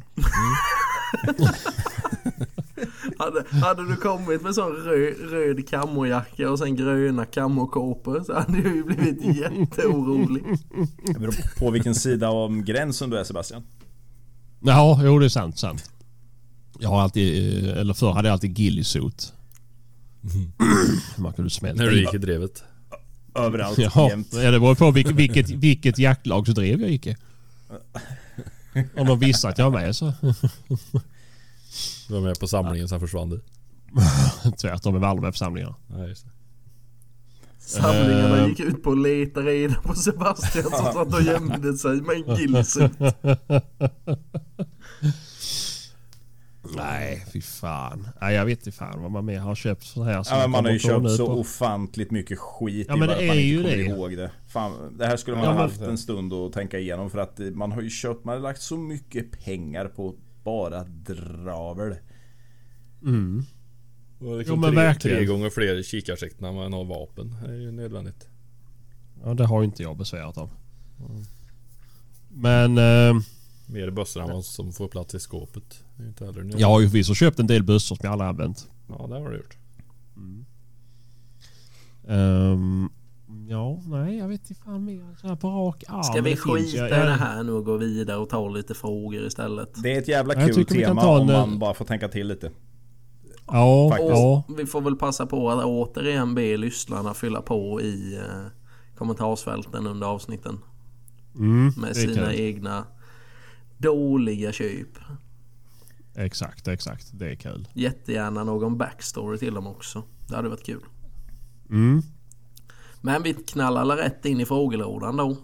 Hade, hade du kommit med sån röd, röd kammojacka och sen gröna kammokåpor så hade du ju blivit jätteorolig. Det beror på vilken sida om gränsen du är Sebastian. Ja, jo det är sant. sant. Jag har alltid, eh, eller förr hade jag alltid gillisot. Mm. Man kunde smälta När du i. gick i drevet. [LAUGHS] Överallt Ja, jämt. ja, det beror på vilket, vilket, vilket jacklagsdrev jag gick i. Om de visste att jag var med så [LAUGHS] Du var med på samlingen, sen försvann du. tvärtom i Malmöförsamlingarna. Nej, just det. Samlingarna Eh. gick ut på att leta reda på Sebastian som satt och gömde sig med [LAUGHS] en gillsuit. Nej, fy fan. Nej, jag vet inte fan vad man mer har köpt så här. som Ja, men jag man har ju kommer på köpt nu så på- ofantligt mycket skit Ja, i men bara det att man är inte ju kommer det. ihåg det. Fan, det här skulle man Ja, ha men- haft en stund att tänka igenom för att eh, man har ju köpt, man har lagt så mycket pengar på bara dravel. Mm. Och liksom Jo, men tre, verkligen. tre gånger fler kikarsikten än man har vapen. Det är ju nödvändigt. Ja, det har ju inte jag besvärat av. Men eh, Mer bössor än vad som får plats i skåpet. Det är ju inte heller nödvändigt. jag har ju förvisso köpt en del bössor som jag aldrig använt. Ja, det har du gjort. Ehm, ja, nej jag vet inte fan mer. Så här på rak arm. Ska vi det finns ju- skita i det här nu och gå vidare och ta lite frågor istället? Det är ett jävla Jag kul tycker vi kan tema ta om en- man bara får tänka till lite. Ja, Faktiskt. ja. Och vi får väl passa på att återigen be lyssnarna fylla på i eh, kommentarsfälten under avsnitten. Mm, Med det sina kan. egna Dåliga köp. Exakt, exakt. Det är kul. Jättegärna någon backstory till dem också. Det hade varit kul. Mm. Men vi knallar alla rätt in i frågelådan då.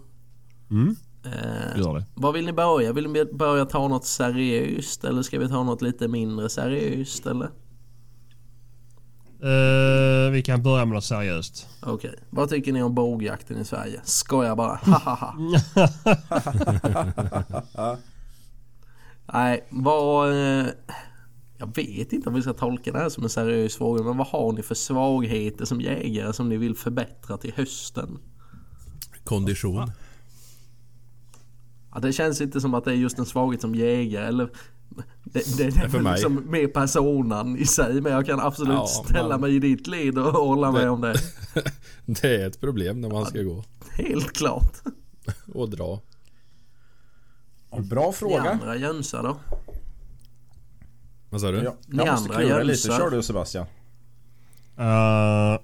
Mm, Eh, gör det. Vad vill ni börja? Vill ni börja ta något seriöst eller ska vi ta något lite mindre seriöst eller? Eh, vi kan börja med något seriöst. Okej, vad tycker ni om bågjakten i Sverige? Skojar bara, hahaha. Nej, vad... eh, Jag vet inte om vi ska tolka det här som en seriös fråga, men vad har ni för svagheter som jägare som ni vill förbättra till hösten? Kondition. Ja, det känns inte som att det är just en svaghet som jägare eller... Det, det, det är för väl mig. liksom mer personan i sig, men jag kan absolut Ja, ställa man- mig i ditt led och hålla med Det- om det. [LAUGHS] Det är ett problem när man ska gå Helt klart. och dra. Ja, Bra Ni fråga. andra jönsar då? Vad sa du? Ja, Ni jag måste andra klura lite. jönsar. Kör du Sebastian. Eh,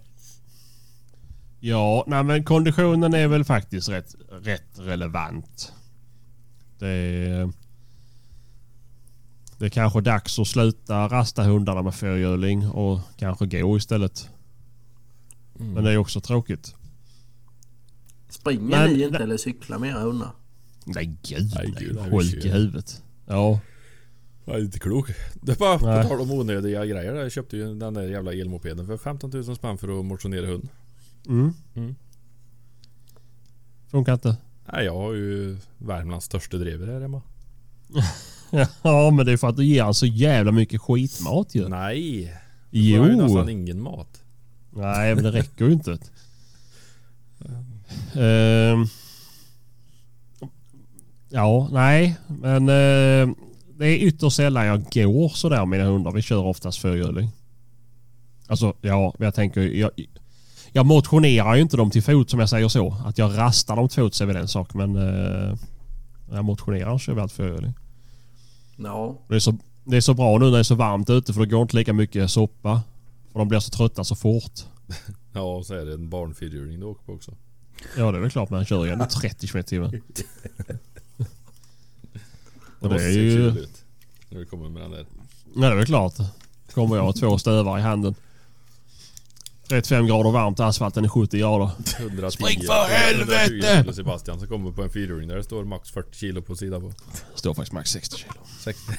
ja, nej men konditionen är väl faktiskt rätt, rätt relevant. Det är, det är kanske dags att sluta rasta hundarna med fyrhjuling och kanske gå istället. Mm. Men det är också tråkigt. Springer Men- ni inte eller cyklar med era hundar? Nej gud, Nej, det är gud, ju nej, sjuk vi kör. i huvudet. Ja, Jag är inte klok. Det är bara Nej. på tal om onödiga grejer. Jag köpte ju den där jävla elmopeden för 15 000 spänn för att motionera hund. Mm. Mm. Funkar inte. [LAUGHS] Nej, jag har ju Värmlands största driver här hemma. Ja men det är för att du ger han så jävla mycket skitmat ju. Nej! Jag har ju jo. nästan ingen mat. Nej men det räcker ju inte. Ehm. ja nej men eh, det är ytterst sällan jag går sådär med mina hundar. Vi kör oftast fyrhjuling. Alltså ja jag tänker ju- jag, jag motionerar ju inte dem till fot som jag säger så. Att jag rastar dem till fots är väl en sak men eh, när jag motionerar så kör vi alltid fyrhjuling. Ja, Det är, så, det är så bra nu när det är så varmt ute för det går inte lika mycket soppa. För de blir så trötta så fort. Ja, och så är det en barnfyrhjuling du åker på också. Ja det är väl klart man kör ju ändå 30 km i [LAUGHS] timmen. Och det måste är se ju... kul ut. När du kommer med den där. Ja det är väl klart. Kommer jag ha två stövar i handen. 35 grader varmt, asfalten är 70 grader. 110, Spring för helvete! 120 kilo Sebastian som kommer på en fyrhjuling där det står max 40 kilo på sidan på. Står faktiskt max 60 kilo. [LAUGHS] 60.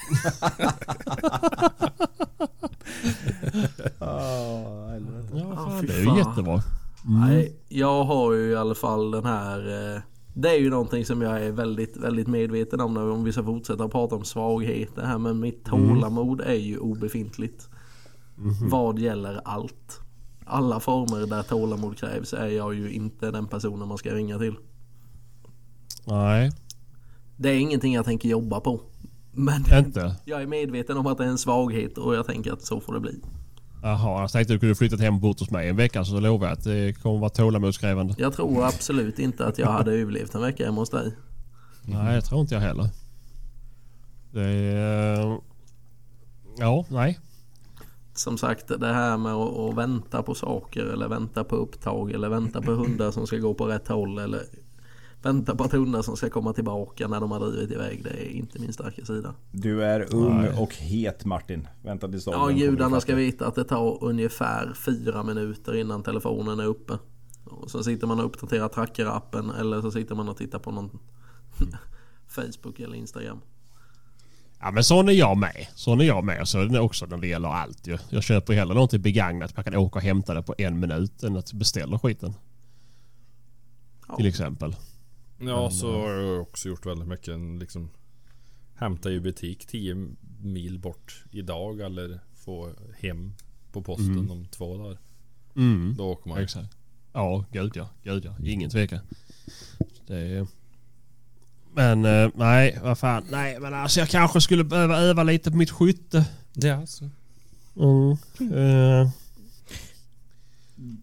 Ja, fy fan, det är fan. ju jättebra. nej. Jag har ju i alla fall den här... eh, Det är ju någonting som jag är väldigt, väldigt medveten om nu om vi ska fortsätta prata om svagheter här. Men mitt tålamod är ju obefintligt. Vad gäller allt. Alla former där tålamod krävs är jag ju inte den personen man ska ringa till. Nej, Det är ingenting jag tänker jobba på. Men inte. [LAUGHS] jag är medveten om att det är en svaghet och jag tänker att så får det bli. Jaha, jag tänkte du kunde flyttat hem bort hos mig en vecka så lovar jag att det kommer vara tålamodskrävande. Jag tror absolut inte att jag hade överlevt en vecka hemma hos dig. Nej, jag tror inte jag heller. Det är... eh, Ja, nej. Som sagt, det här med att, att vänta på saker eller vänta på upptag eller vänta på hundar som ska gå på rätt håll eller vänta på att hundar som ska komma tillbaka när de har drivit iväg. Det är inte min starka sida. Du är ung och het Martin. Vänta tills Ja, dagen gudarna ska veta att det tar ungefär fyra minuter innan telefonen är uppe. Och så sitter man och uppdaterar trackerappen eller så sitter man och tittar på någon [LAUGHS] Facebook eller Instagram. Ja men sån är jag med. Sån är jag med. Så är det också när det gäller allt ju. Jag köper ju hellre någonting begagnat. Man kan åka och hämta det på en minut än att beställa skiten. Ja. Till exempel. Ja, så har jag också gjort väldigt mycket. En Liksom, hämta i butik 10 mil bort idag eller få hem på posten om två dagar. Mm. Då åker man. Exakt. Ja, gud ja. Gud ja. Ingen tvekan. Det är... Men eh, nej, vad fan. Nej, men alltså jag kanske skulle behöva öva lite på mitt skytte. Det är alltså. Mm. Eh,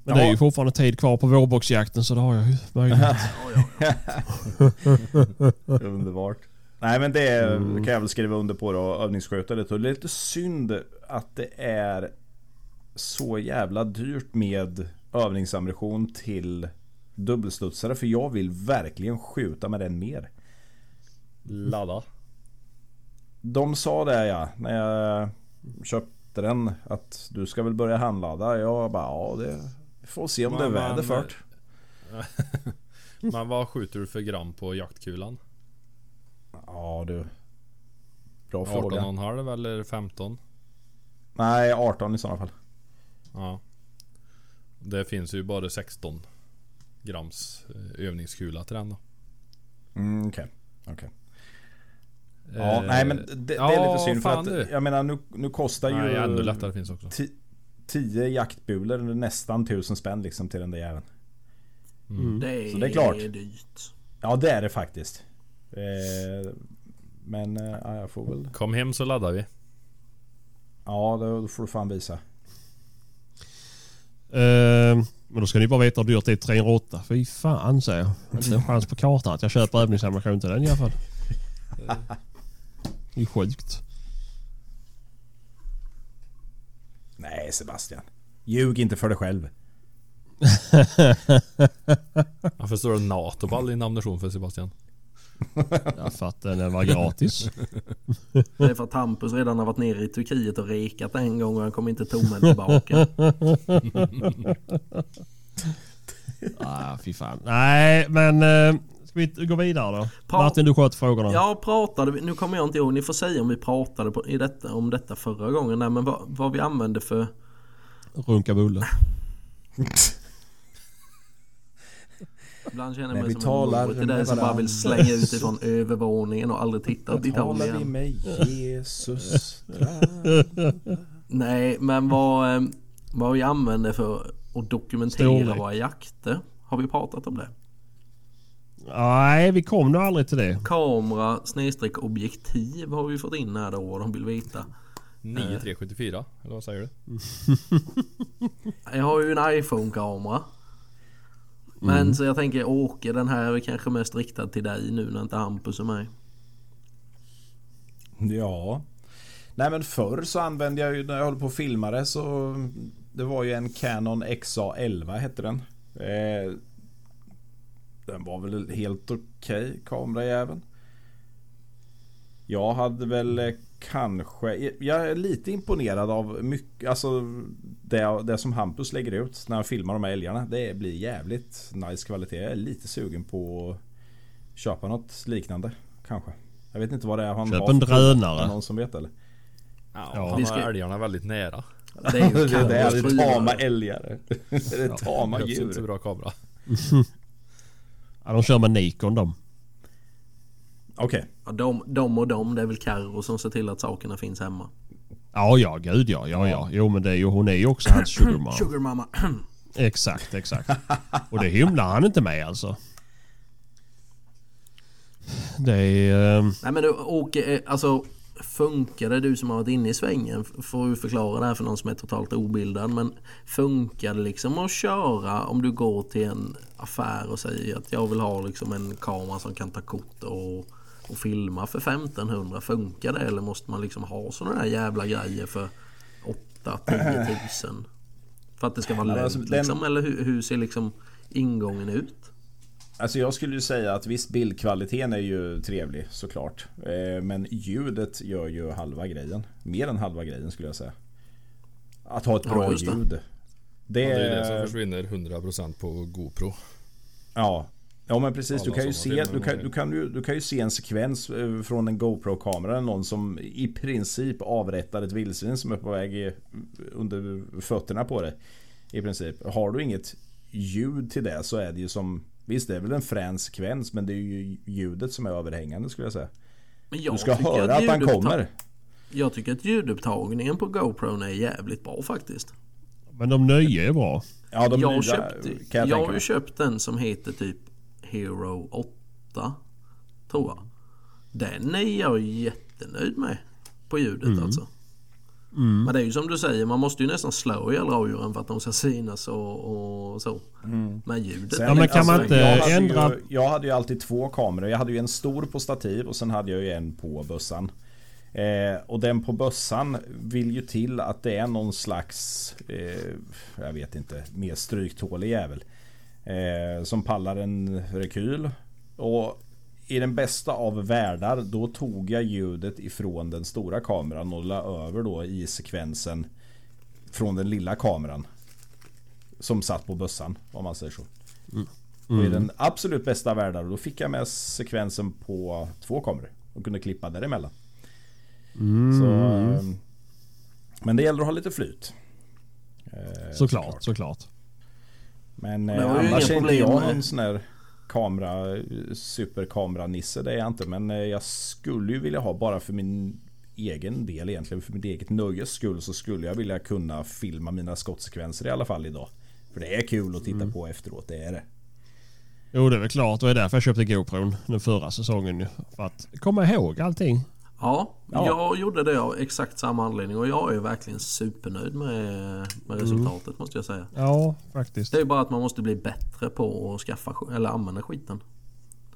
Men det är ju Ja. fortfarande tid kvar på vårboxjakten så det har jag ju [LAUGHS] möjlighet. Underbart. Nej men det är- Mm. kan jag väl skriva under på då. Övningsskötare. Det är lite synd att det är så jävla dyrt med övningsammunition till dubbelstudsare. För jag vill verkligen skjuta med den mer. Ladda. De sa det ja, när jag köpte den. Att du ska väl börja handlada? Jag bara ja, det vi får se om det är Men- väder men- fört. Men vad skjuter du för gram på jaktkulan? Ja du. Bra fråga. 18,5 eller 15? Nej, 18 i sådana fall. Ja. Det finns ju bara 16 grams eh, övningskula till den då. Mm, Okej. okej. Ja, Eh, nej men det, det är ja, lite synd för fan att du. jag menar nu, nu kostar ju... Nej, ännu lättare finns också. 10 jaktbulor nästan 1000 spänn liksom till den där jäveln. Det är, Mm. Så det är klart. dyrt. Ja det är det faktiskt. Eh, men eh, ja, jag får väl... Kom hem så laddar vi. Ja då då får du fan visa. Ehm, men då ska ni bara veta hur dyrt det är 308. Fy fan säger jag. Inte en chans på kartan att jag köper övningsammunition till den i alla fall. Eh, Det är sjukt. Nej Sebastian. Ljug inte för dig själv. Varför står det NATO på all din ammunition för Sebastian? Jag fattar den var gratis. Det är för att Hampus redan har varit nere i Turkiet och rekat en gång och han kommer inte tummen tillbaka. ah, fy fan. Nej men eh, ska vi gå vidare då? Pa- Martin du sköt frågorna. Ja, pratade vi, nu kommer jag inte ihåg, ni får säga om vi pratade på, i detta, om detta förra gången. Nej, men vad, vad vi använde för... Runka bulle. Ibland känner Nej, jag mig som vi talar en robot. Det med där som bara varandra. vill slänga ut ifrån övervåningen och aldrig titta åt Talar vi Italien. med Jesus? Nej, men vad, eh, vad vi använde för att dokumentera Storlek. våra jakter. Har vi pratat om det? Nej vi kom nog aldrig till det. Kamera snedstreck objektiv har vi fått in här då och de vill veta. 9374 eller vad säger du? Jag har ju en iPhone-kamera. Men Mm. så jag tänker Åke, den här är kanske mest riktad till dig nu när inte Hampus är med. Ja. Nej men förr så använde jag ju när jag höll på och filmade så Det var ju en Canon XA11 hette den. Eh, den var väl helt okej kamerajäveln. Jag hade väl eh, kanske Jag är lite imponerad av mycket Alltså det, det som Hampus lägger ut när han filmar de här älgarna. Det blir jävligt nice kvalitet. Jag är lite sugen på att köpa något liknande kanske. Jag vet inte vad det är han Köp har en för produkter. drönare. Är det Någon som vet eller? Ja, Ja. han Vi har ska- älgarna väldigt nära. [LAUGHS] Det är ju Det är, det är Canon tama 4. älgar. Det är tama Behövs inte så djur. bra kamera. Ja, de kör med Nikon de. Okej. Ja, de, de och de, det är väl Carro som ser till att sakerna finns hemma. Ja ja gud ja ja ja. Jo men det är ju hon är ju också hans sugarmama. Sugar mamma. Exakt, exakt. Och det hymlar han inte med alltså. Det är... ehm, Nej men du Åke, eh, alltså funkar det du som har varit inne i svängen? F- Får du förklara det här för någon som är totalt obildad. Men funkar det liksom att köra om du går till en affär och säger att jag vill ha liksom en kamera som kan ta kort och, och filma för 1500. Funkar det eller måste man liksom ha sådana där jävla grejer för 8-10 [CLEARS THROAT] tusen? För att det ska vara Men lönt alltså, den- liksom? Eller hur, hur ser liksom ingången ut? Alltså jag skulle ju säga att visst bildkvaliteten är ju trevlig såklart. Eh, Men ljudet gör ju halva grejen. Mer än halva grejen skulle jag säga. Att ha ett Ja, bra just det. ljud. Det Det är ju det är... som försvinner 100% på GoPro. Ja. Ja men precis, du Alla kan, ju sådana se, filmer du, kan, man du, kan ju, du kan ju se en sekvens eh, från en GoPro-kamera. Någon som i princip avrättar ett vildsvin som är på väg i, under fötterna på dig. I princip. Har du inget ljud till det så är det ju som... Visst det är väl en frän sekvens men det är ju ljudet som är överhängande skulle jag säga. Men jag Du ska tycker höra att han ljudupptag- kommer. Jag tycker att ljudupptagningen på GoPron är jävligt bra faktiskt. Men de nya är bra. Ja de jag, nya köpte, kan jag, jag, har tänka ju mig. köpt den som heter typ Hero 8. Tror jag. Den är jag jättenöjd med. På ljudet Mm. alltså. Men det är ju som du säger, man måste ju nästan slå ihjäl rådjuren för att de ska synas och, och så. Men ljudet... Mm. Sen, alltså, Ja, men kan man inte jag hade ändra- Ju, jag hade ju alltid två kameror. Jag hade ju en stor på stativ och sen hade jag ju en på bössan. Eh, och den på bössan vill ju till att det är någon slags, eh, jag vet inte, mer stryktålig jävel. Eh, som pallar en rekyl. Och i den bästa av världar då tog jag ljudet ifrån den stora kameran och la över då i sekvensen från den lilla kameran. Som satt på bössan om man säger så. Och i den absolut bästa av världar då fick jag med sekvensen på två kameror och kunde klippa däremellan. Så, ehm, men det gäller att ha lite flyt. Eh, Såklart, såklart. men Det eh, var ju annars är inga inte jag problem. någon sån här kamera, superkameranisse, det är jag inte. Men eh, jag skulle ju vilja ha bara för min egen del egentligen, för mitt eget nöjes skull så skulle jag vilja kunna filma mina skottsekvenser i alla fall idag. För det är kul att titta på efteråt, det är det. Jo det är väl klart och det är därför jag köpte GoPron den förra säsongen ju. För att komma ihåg allting. Ja, Ja. jag gjorde det av exakt samma anledning och jag är verkligen supernöjd med, Mm. med resultatet måste jag säga. Ja faktiskt. Det är ju bara att man måste bli bättre på att skaffa sk- eller använda skiten.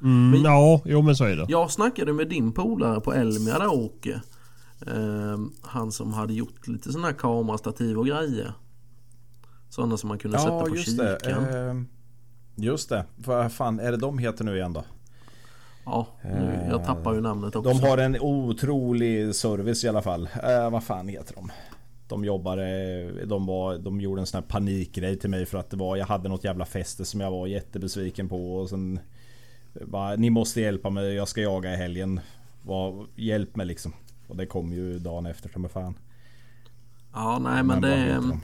Mm, ja, jo men så är det. Jag snackade med din polare på Elmia där Åke. Ehm, han som hade gjort lite sådana här kamerastativ och grejer. Sådana som man kunde sätta på kikaren. Ehm, just det. Vad fan är det de heter nu igen då? ja, nu, jag tappar ju namnet också. eh, De har en otrolig service i alla fall. Eh, vad fan heter de? De jobbade, de, var, de gjorde en sån här panikgrej till mig för att det var, jag hade något jävla fäste som jag var jättebesviken på och sen bara, Ni måste hjälpa mig, jag ska jaga i helgen. Vad- hjälp mig liksom. Och det kom ju dagen efter som fan. Ja, nej men vad heter det... de?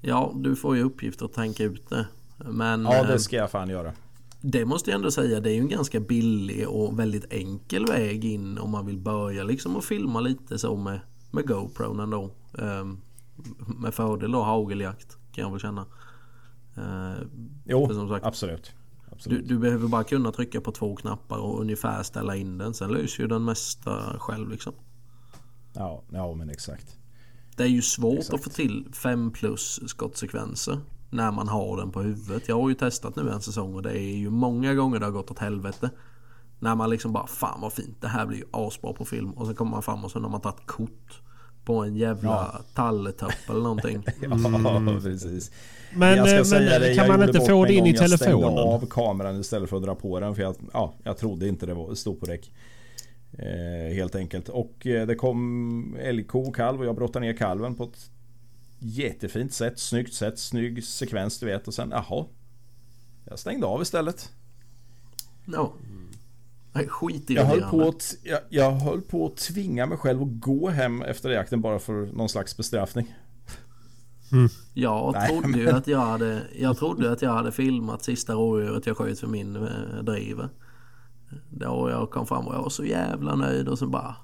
Ja, du får ju uppgift att tänka ut det. Men Ja ehm, det ska jag fan göra. Det måste jag ändå säga, det är ju en ganska billig och väldigt enkel väg in om man vill börja liksom och filma lite så med, med GoPro ändå. Ehm, med fördel då hageljakt kan jag väl känna. Ehm, Jo, för som sagt- absolut. absolut. du, du behöver bara kunna trycka på två knappar och ungefär ställa in den. Sen löser ju den mesta själv liksom. Ja, ja men exakt. Det är ju svårt att få till 5 plus skottsekvenser när man har den på huvudet. Jag har ju testat nu en säsong och det är ju många gånger det har gått åt helvete. När man liksom bara fan vad fint det här blir ju asbra på film och så kommer man fram och så har man tagit kort på en jävla talletöpp eller [LAUGHS] någonting. Ja, precis. Mm. Men, jag eh, ska men säga det, kan jag man gjorde inte bort få mig det in en gång. i Jag stängde telefonen? av kameran istället för att dra på den för jag, ja, jag trodde inte det var, stod på räck. Eh, helt enkelt. Och eh, det kom älgko och kalv och jag brottade ner kalven på ett jättefint sätt. Snyggt sätt, snygg sekvens du vet. Och sen jaha. Jag stängde av istället. Ja. Nej, Skit i Jag höll, det. på att, jag, jag höll på att tvinga mig själv att gå hem efter jakten bara för någon slags bestraffning. Jag trodde ju att jag hade, jag trodde att jag hade filmat sista rådjuret jag sköt för min eh, driver. Då jag kom fram och jag var så jävla nöjd och sen bara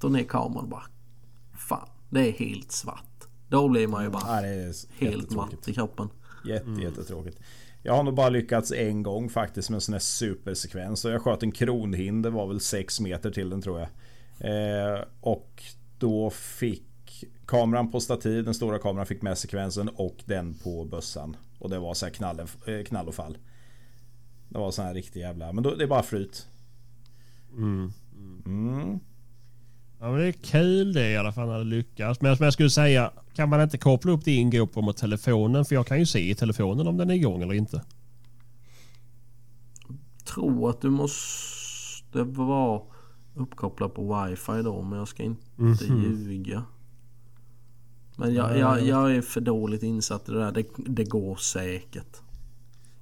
tog ner kameran och bara Fan, det är helt svart. Då blir man ju bara Nej, det är helt jättetråkigt. matt i kroppen. Jätte, Mm. Jättetråkigt. Jag har nog bara lyckats en gång faktiskt med en sån här supersekvens. Och jag sköt en kronhind, det var väl 6 meter till den tror jag. Eh, och då fick kameran på stativ, den stora kameran fick med sekvensen och den på bössan. Och det var så här knall, eh, knall och fall. Det var sån här riktig jävla... Men då, det är bara flyt. Ja, men det är kul det i alla fall när det lyckas. Men som jag skulle säga, kan man inte koppla upp din GoPro mot telefonen? För jag kan ju se i telefonen om den är igång eller inte. Tror att du måste vara uppkopplad på wifi då men jag ska inte ljuga. Men jag, jag, jag är för dåligt insatt i det där. Det, det går säkert.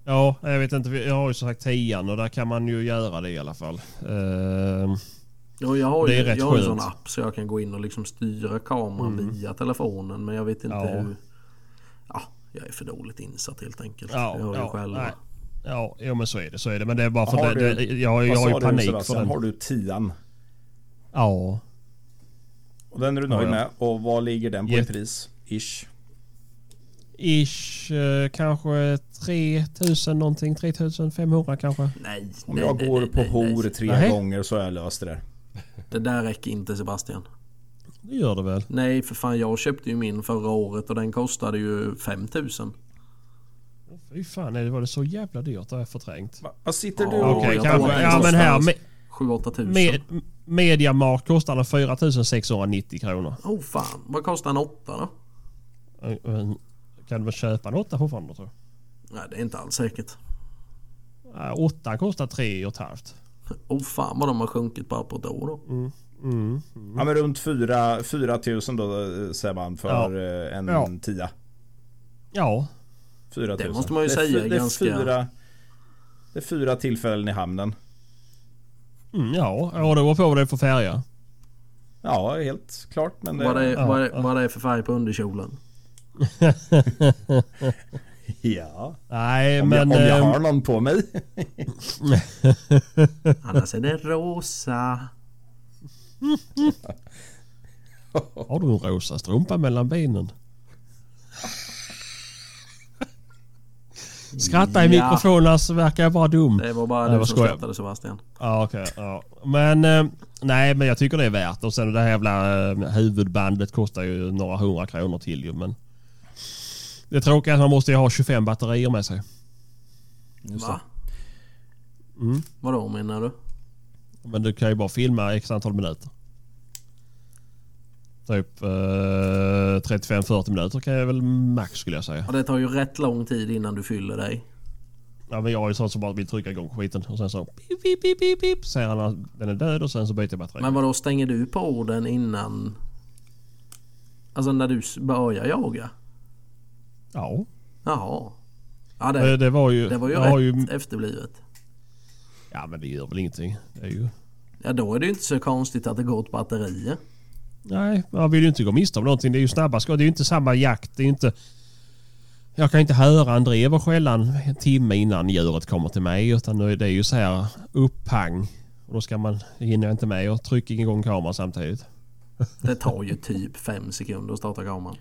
Ja, jag vet inte. Jag har ju som sagt 10 och där kan man ju göra det i alla fall. Ehm, Ja, jag har Det är ju rätt jag har ju en sån skönt. Mm. app så jag kan gå in och liksom styra kameran via telefonen. Men jag vet inte Ja. hur... Ja, jag är för dåligt insatt helt enkelt. ja, jag har ju ja, själv. nej. ja, jo, men så är det. Så är det. Men det är bara för Har att det, det, du- jag, har ju- jag Vad har sa ju du, panik för Sebastian? den. Har du tian? Ja. Och den är du nöjd Ja, ja. med. Och vad ligger den på i Jätte- pris? Ish. Ish, eh, kanske 3000 någonting. 3500 kanske. Nej, Om nej, jag nej, går nej, på nej, nej. hor tre Nej. gånger så har jag löst det där. Det där räcker inte Sebastian. Det gör det väl. Nej, för fan jag köpte ju min förra året och den kostade ju 5000. Fy fan, nej, det var det så jävla dyrt? Det har jag förträngt. Va- Vad sitter du Ja, och... Okej, jag tror kanske. det Ja, men här. någonstans. Med, 7-8 tusen. med, Mediamarkt kostar den 4690 kronor. Oh fan, vad kostar en åtta då? Eh, eh, Kan du väl köpa en åtta fortfarande tror jag? Nej, det är inte alls säkert. Nej, Åttan kostar tre och ett halvt. Oh fan vad de har sjunkit bara på ett år då. Mm. Ja men runt 4, 4 000 då eh, säger man för eh, en Ja. tia. Ja, 4 000. Det måste man ju är fy- säga är det är ganska- Fyra, det är fyra tillfällen i hamnen. mm, ja. ja, det beror på vad det är för färger. Ja, helt klart. Men det, Vad det, Ja, vad, det, vad det är för färg på underkjolen. ja. Nej, Om, men... jag, om jag ehm, har någon på mig. [LAUGHS] Annars är alltså, det rosa. Har du en rosa strumpa mellan benen? Skratta i Ja. mikrofonen så verkar jag vara dum. Det var bara Nej, du vad som skojar. skrattade Sebastian. Ja, okej. ja. Men eh, nej, men jag tycker det är värt. Och sen det här jävla eh, huvudbandet kostar ju några hundra kronor till ju. Men det tråkiga är att man måste ju ha 25 batterier med sig. Va? Mm. Vadå menar du? Men du kan ju bara filma x antal minuter. Typ eh, 35-40 minuter kan jag väl max skulle jag säga. Ja, det tar ju rätt lång tid innan du fyller dig. Ja, men jag är ju sån som bara vill trycka igång skiten och sen så pip, pip, pip, pip, pip, säger han att den är död och sen så byter jag batteri. Men vadå stänger du på den innan? Alltså när du s- börjar jaga? Ja, Jaha. Ja det, det, det var ju... det var ju jag har rätt ju efterblivet. ja, men det gör väl ingenting. Det är ju... Ja då är det ju inte så konstigt att det går åt batterier. Nej, man vill ju inte gå miste om någonting. Det är ju snabba skott. Det är ju inte samma jakt. Det är ju inte... Jag kan inte höra en drev och skälla en timme innan djuret kommer till mig. Utan nu är det ju så här uppang. Och då ska man, hinner jag inte med och trycka igång kameran samtidigt. Det tar ju typ fem sekunder att starta kameran.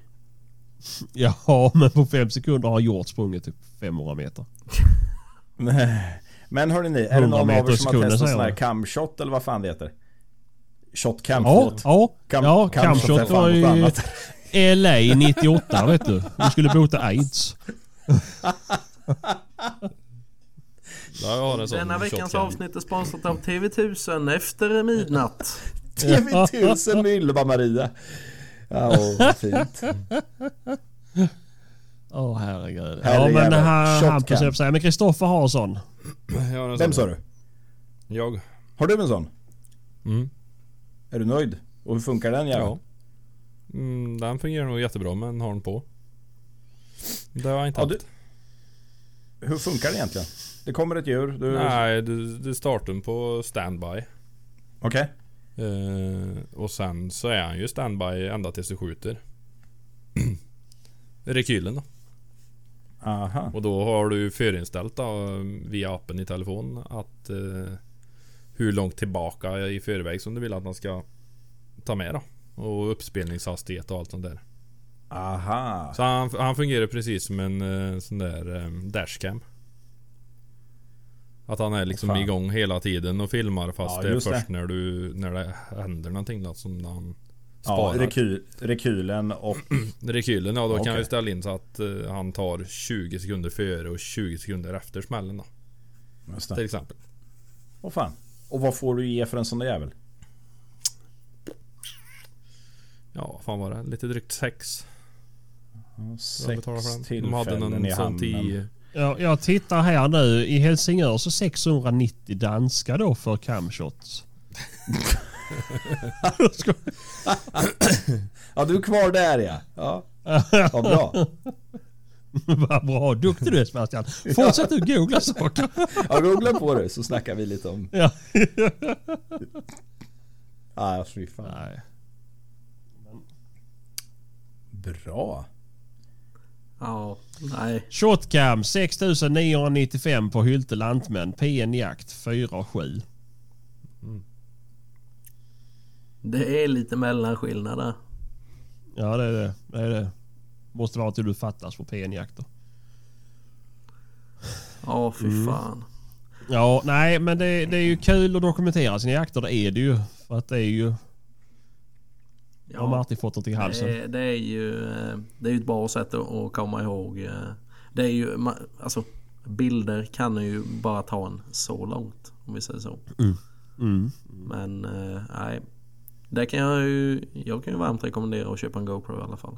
Ja, [LAUGHS] men på fem sekunder har Hjort sprungit typ 500 meter. Men hörni, är det 100 någon av meter er i som har sekunden, testat säger sån här jag. camshot eller vad fan det heter? Shot cam, Ja, [LAUGHS] förlåt. ja, Cam- ja, cam shot är Camshot fan var något i annat. LA 98 vet du. Du skulle bota aids. Ja, jag har en sån Denna veckans tjock- avsnitt är sponsrat av TV1000 efter midnatt. TV1000 med Ylva-Maria. Ja, åh, [LAUGHS] fint. Åh herregud. Ja Herrejävlar. men han, Shot han cam. på säga, men Kristoffer har en sån. Jag har en sån. Vem sa du? Jag. Har du en sån? Mm. Är du nöjd? Och hur funkar den jäveln? Ja. Mm, den fungerar nog jättebra men har den på. Det har jag inte Ja, haft. du- Hur funkar den egentligen? Det kommer ett djur. Du... Nej, du, du startar den på standby. Okej. Eh, och sen så är han ju standby ända tills du skjuter. [CLEARS THROAT] Rekylen då. Aha. Och då har du förinställt då, via appen i telefon att eh, hur långt tillbaka i förväg som du vill att man ska ta med då. Och uppspelningshastighet och allt sånt där. Aha. Så han, han fungerar precis som en eh, sån där eh, dashcam. Att han är liksom Fan. igång hela tiden och filmar fast Ja, det är just först när du när det händer någonting då, som han Ja, sparar. rekyl, [CLEARS THROAT] rekylen och... Rekylen ja, då Ja, kan okej. vi ställa in så att eh, han tar 20 sekunder före och 20 sekunder efter smällen då. Just Till det. exempel. Åh fan. Och vad får du ge för en sån där jävel? Ja, fan var det? Lite drygt 6. Sex tillfällen De hade någon i sån hamnen. 10. Ja, jag tittar här nu. I Helsingör så 690 danska då för camshots. [LAUGHS] Ja, du är kvar där ja. Ja, [LAUGHS] ja bra. Vad bra. Duktig du är Sebastian. Fortsätt du googla saker. Ja, googla på det så snackar vi lite om... Ja. Ah, fy fan. Nej. Bra. Ja, nej. Shotcam 6995 på Hylte Lantmän. PN Jakt 47. Det är lite mellanskillnad där. Ja det är det. det, är det. Måste vara till du fattas på PN Jakt då. Ja, fy Mm. fan. Ja, nej men det, det är ju kul att dokumentera sina jakter. Det är det ju. För att det är ju... Ja. Har man alltid fått något i halsen. Eh, Det, är- det är ju eh, det är ju ett bra sätt att- att komma ihåg. eh, Det är ju, ma- alltså bilder kan ju bara ta en så långt om vi säger så. Mm. Men eh, nej, det kan jag ju, jag kan ju varmt rekommendera att köpa en GoPro i alla fall.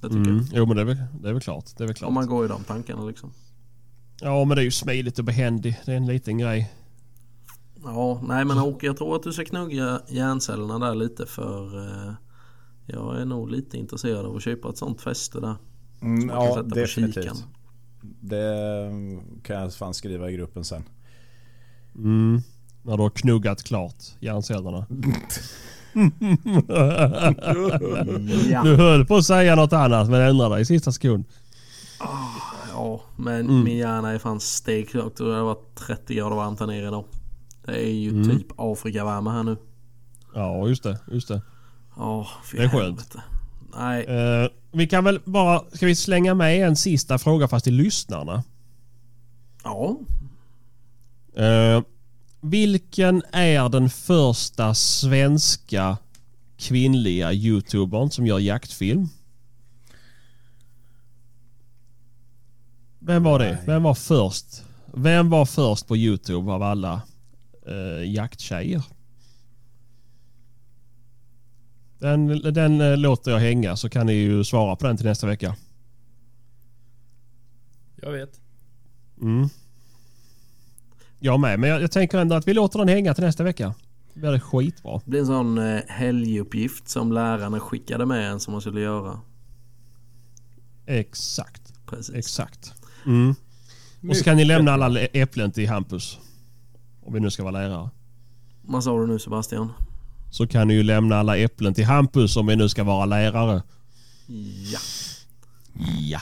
Det tycker Mm. Jo men det är, väl, det är väl klart. Det är väl jag. klart. Om man går i de tankarna liksom. Ja men det är ju smidigt och behändigt. Det är en liten grej. Ja, nej Mm. men Åke jag tror att du ska knugga hjärncellerna där lite för eh, jag är nog lite intresserad av att köpa ett sånt fäste där. Mm, Man kan ja, sätta på kikan. definitivt. Det kan jag fan skriva i gruppen sen. Mm. När du har knuggat klart hjärncellerna. Du Ja, höll på att säga något annat men ändrade dig i sista sekund. ja men Mm. min hjärna är fan stekhögt och det har varit 30 grader varmt här nere idag. Det är ju Mm. typ Afrikavärme här nu. Ja, just det. Just det. Ja, fy Det är skönt. helvete. Nej, Eh, vi kan väl bara... Ska vi slänga med en sista fråga fast till lyssnarna? ja. Eh, vilken är den första svenska kvinnliga youtubern som gör jaktfilm? Vem var det? Vem var först? Vem var först på youtube av alla eh, jakttjejer? Den, den eh, låter jag hänga så kan ni ju svara på den till nästa vecka. Jag vet. Mm. Jag med, men jag, jag tänker ändå att vi låter den hänga till nästa vecka. Det blir skitbra. Det blir en sån eh, helguppgift som lärarna skickade med en som man skulle göra. Exakt, Precis. exakt. Mm. Och så kan ni lämna alla lä- äpplen till Hampus. Om vi nu ska vara lärare. Vad sa du nu Sebastian? Så kan ni ju lämna alla äpplen till Hampus om vi nu ska vara lärare. Ja. Ja.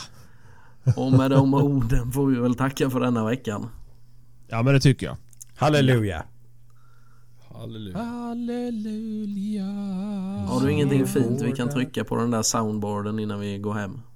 Och med de orden får vi väl tacka för denna veckan. Ja men det tycker jag. Halleluja! Halleluja. Halleluja. Mm. Har du ingenting fint vi kan trycka på den där soundboarden innan vi går hem?